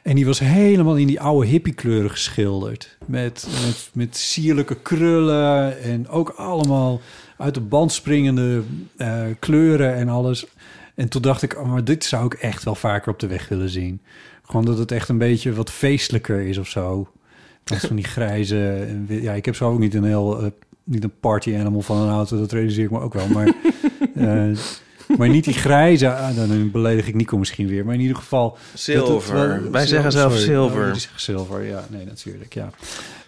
S4: En die was helemaal in die oude hippiekleuren geschilderd. Met, met, met sierlijke krullen en ook allemaal uit de band springende eh, kleuren en alles. En toen dacht ik, oh, maar dit zou ik echt wel vaker op de weg willen zien. Gewoon dat het echt een beetje wat feestelijker is of zo. Als van die grijze... en wit- Ja, ik heb zo ook niet een heel... eh, niet een party animal van een auto, dat realiseer ik me ook wel. Maar, eh, maar niet die grijze... ah, dan beledig ik Nico misschien weer. Maar in ieder geval...
S3: Zilver.
S4: wel-
S3: Wij zeggen zelf
S4: sorry.
S3: zilver.
S4: Oh, jullie zeggen zilver, ja. Nee, natuurlijk, ja.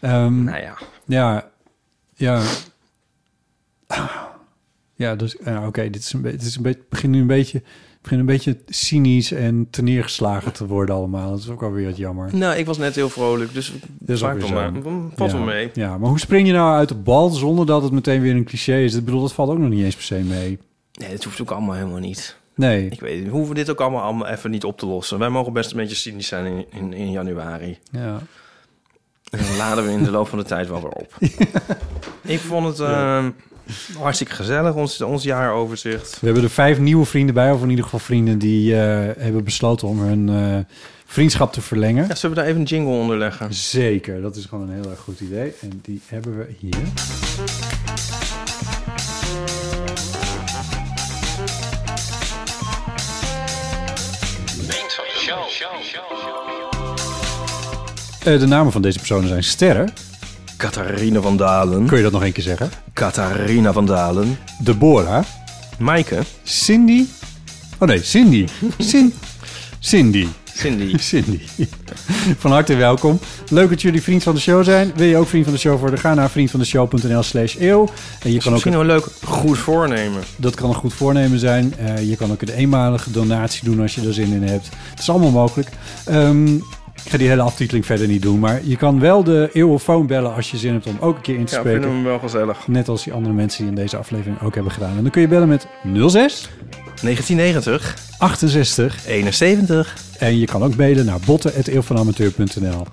S4: Ehm,
S3: Nou ja.
S4: ja, ja. Ah. Ja, dus ja, oké, dit is een beetje, dit is een beetje, het begint nu een beetje, het begint een beetje cynisch en teneergeslagen te worden allemaal. Dat is ook alweer wat jammer.
S3: Nou, ik was net heel vrolijk, dus
S4: Dat is ook
S3: maakt
S4: weer
S3: wel
S4: zo.
S3: maar. Valt
S4: ja.
S3: wel mee.
S4: Ja, maar hoe spring je nou uit de bal zonder dat het meteen weer een cliché is? Ik bedoel, dat valt ook nog niet eens per se mee.
S3: Nee, dat hoeft ook allemaal helemaal niet.
S4: Nee.
S3: Ik weet, we hoeven dit ook allemaal, allemaal even niet op te lossen. Wij mogen best een beetje cynisch zijn in, in, in januari.
S4: Ja.
S3: En dan laden we in de loop van de tijd wel weer op. Ik vond het eh, hartstikke gezellig, ons, ons jaaroverzicht.
S4: We hebben er vijf nieuwe vrienden bij, of in ieder geval vrienden die eh, hebben besloten om hun eh, vriendschap te verlengen.
S3: Ja, zullen we daar even een jingle onder leggen?
S4: Zeker, dat is gewoon een heel erg goed idee. En die hebben we hier. Eh, de namen van deze personen zijn Sterren.
S3: Catharina van Dalen.
S4: Kun je dat nog één keer zeggen?
S3: Catharina van Dalen.
S4: Deborah.
S3: Maaike.
S4: Cindy. Oh nee, Cindy. Cin Cindy.
S3: Cindy.
S4: Cindy. Van harte welkom. Leuk dat jullie vriend van de show zijn. Wil je ook vriend van de show worden? Ga naar vriendvandeshow.nl slash eeuw. En je kan ook
S3: Misschien wel leuk goed voornemen.
S4: Dat kan een goed voornemen zijn. Eh, je kan ook een eenmalige donatie doen als je er zin in hebt. Het is allemaal mogelijk. Ehm, ik ga die hele aftiteling verder niet doen. Maar je kan wel de eeuwofoon bellen als je zin hebt om ook een keer in te
S3: Ja, ik vind
S4: spreken.
S3: hem wel gezellig.
S4: Net als die andere mensen die in deze aflevering ook hebben gedaan. En dan kun je bellen met 06
S3: 1990,
S4: 68.
S3: 71.
S4: En je kan ook mailen naar botten.eeuwvanamateur.nl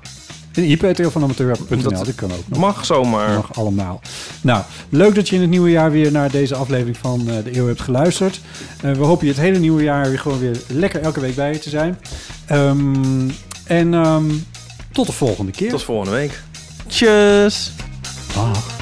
S4: En ip.eeuwvanamateur.nl,
S3: Dat-
S4: dat kan ook nog.
S3: Mag zomaar.
S4: nog allemaal. Nou, leuk dat je in het nieuwe jaar weer naar deze aflevering van eh, De Eeuw hebt geluisterd. Eh, we hopen je het hele nieuwe jaar weer gewoon weer lekker elke week bij je te zijn. Ehm, en ehm, tot de volgende keer.
S3: Tot volgende week. Tjus.
S4: Dag.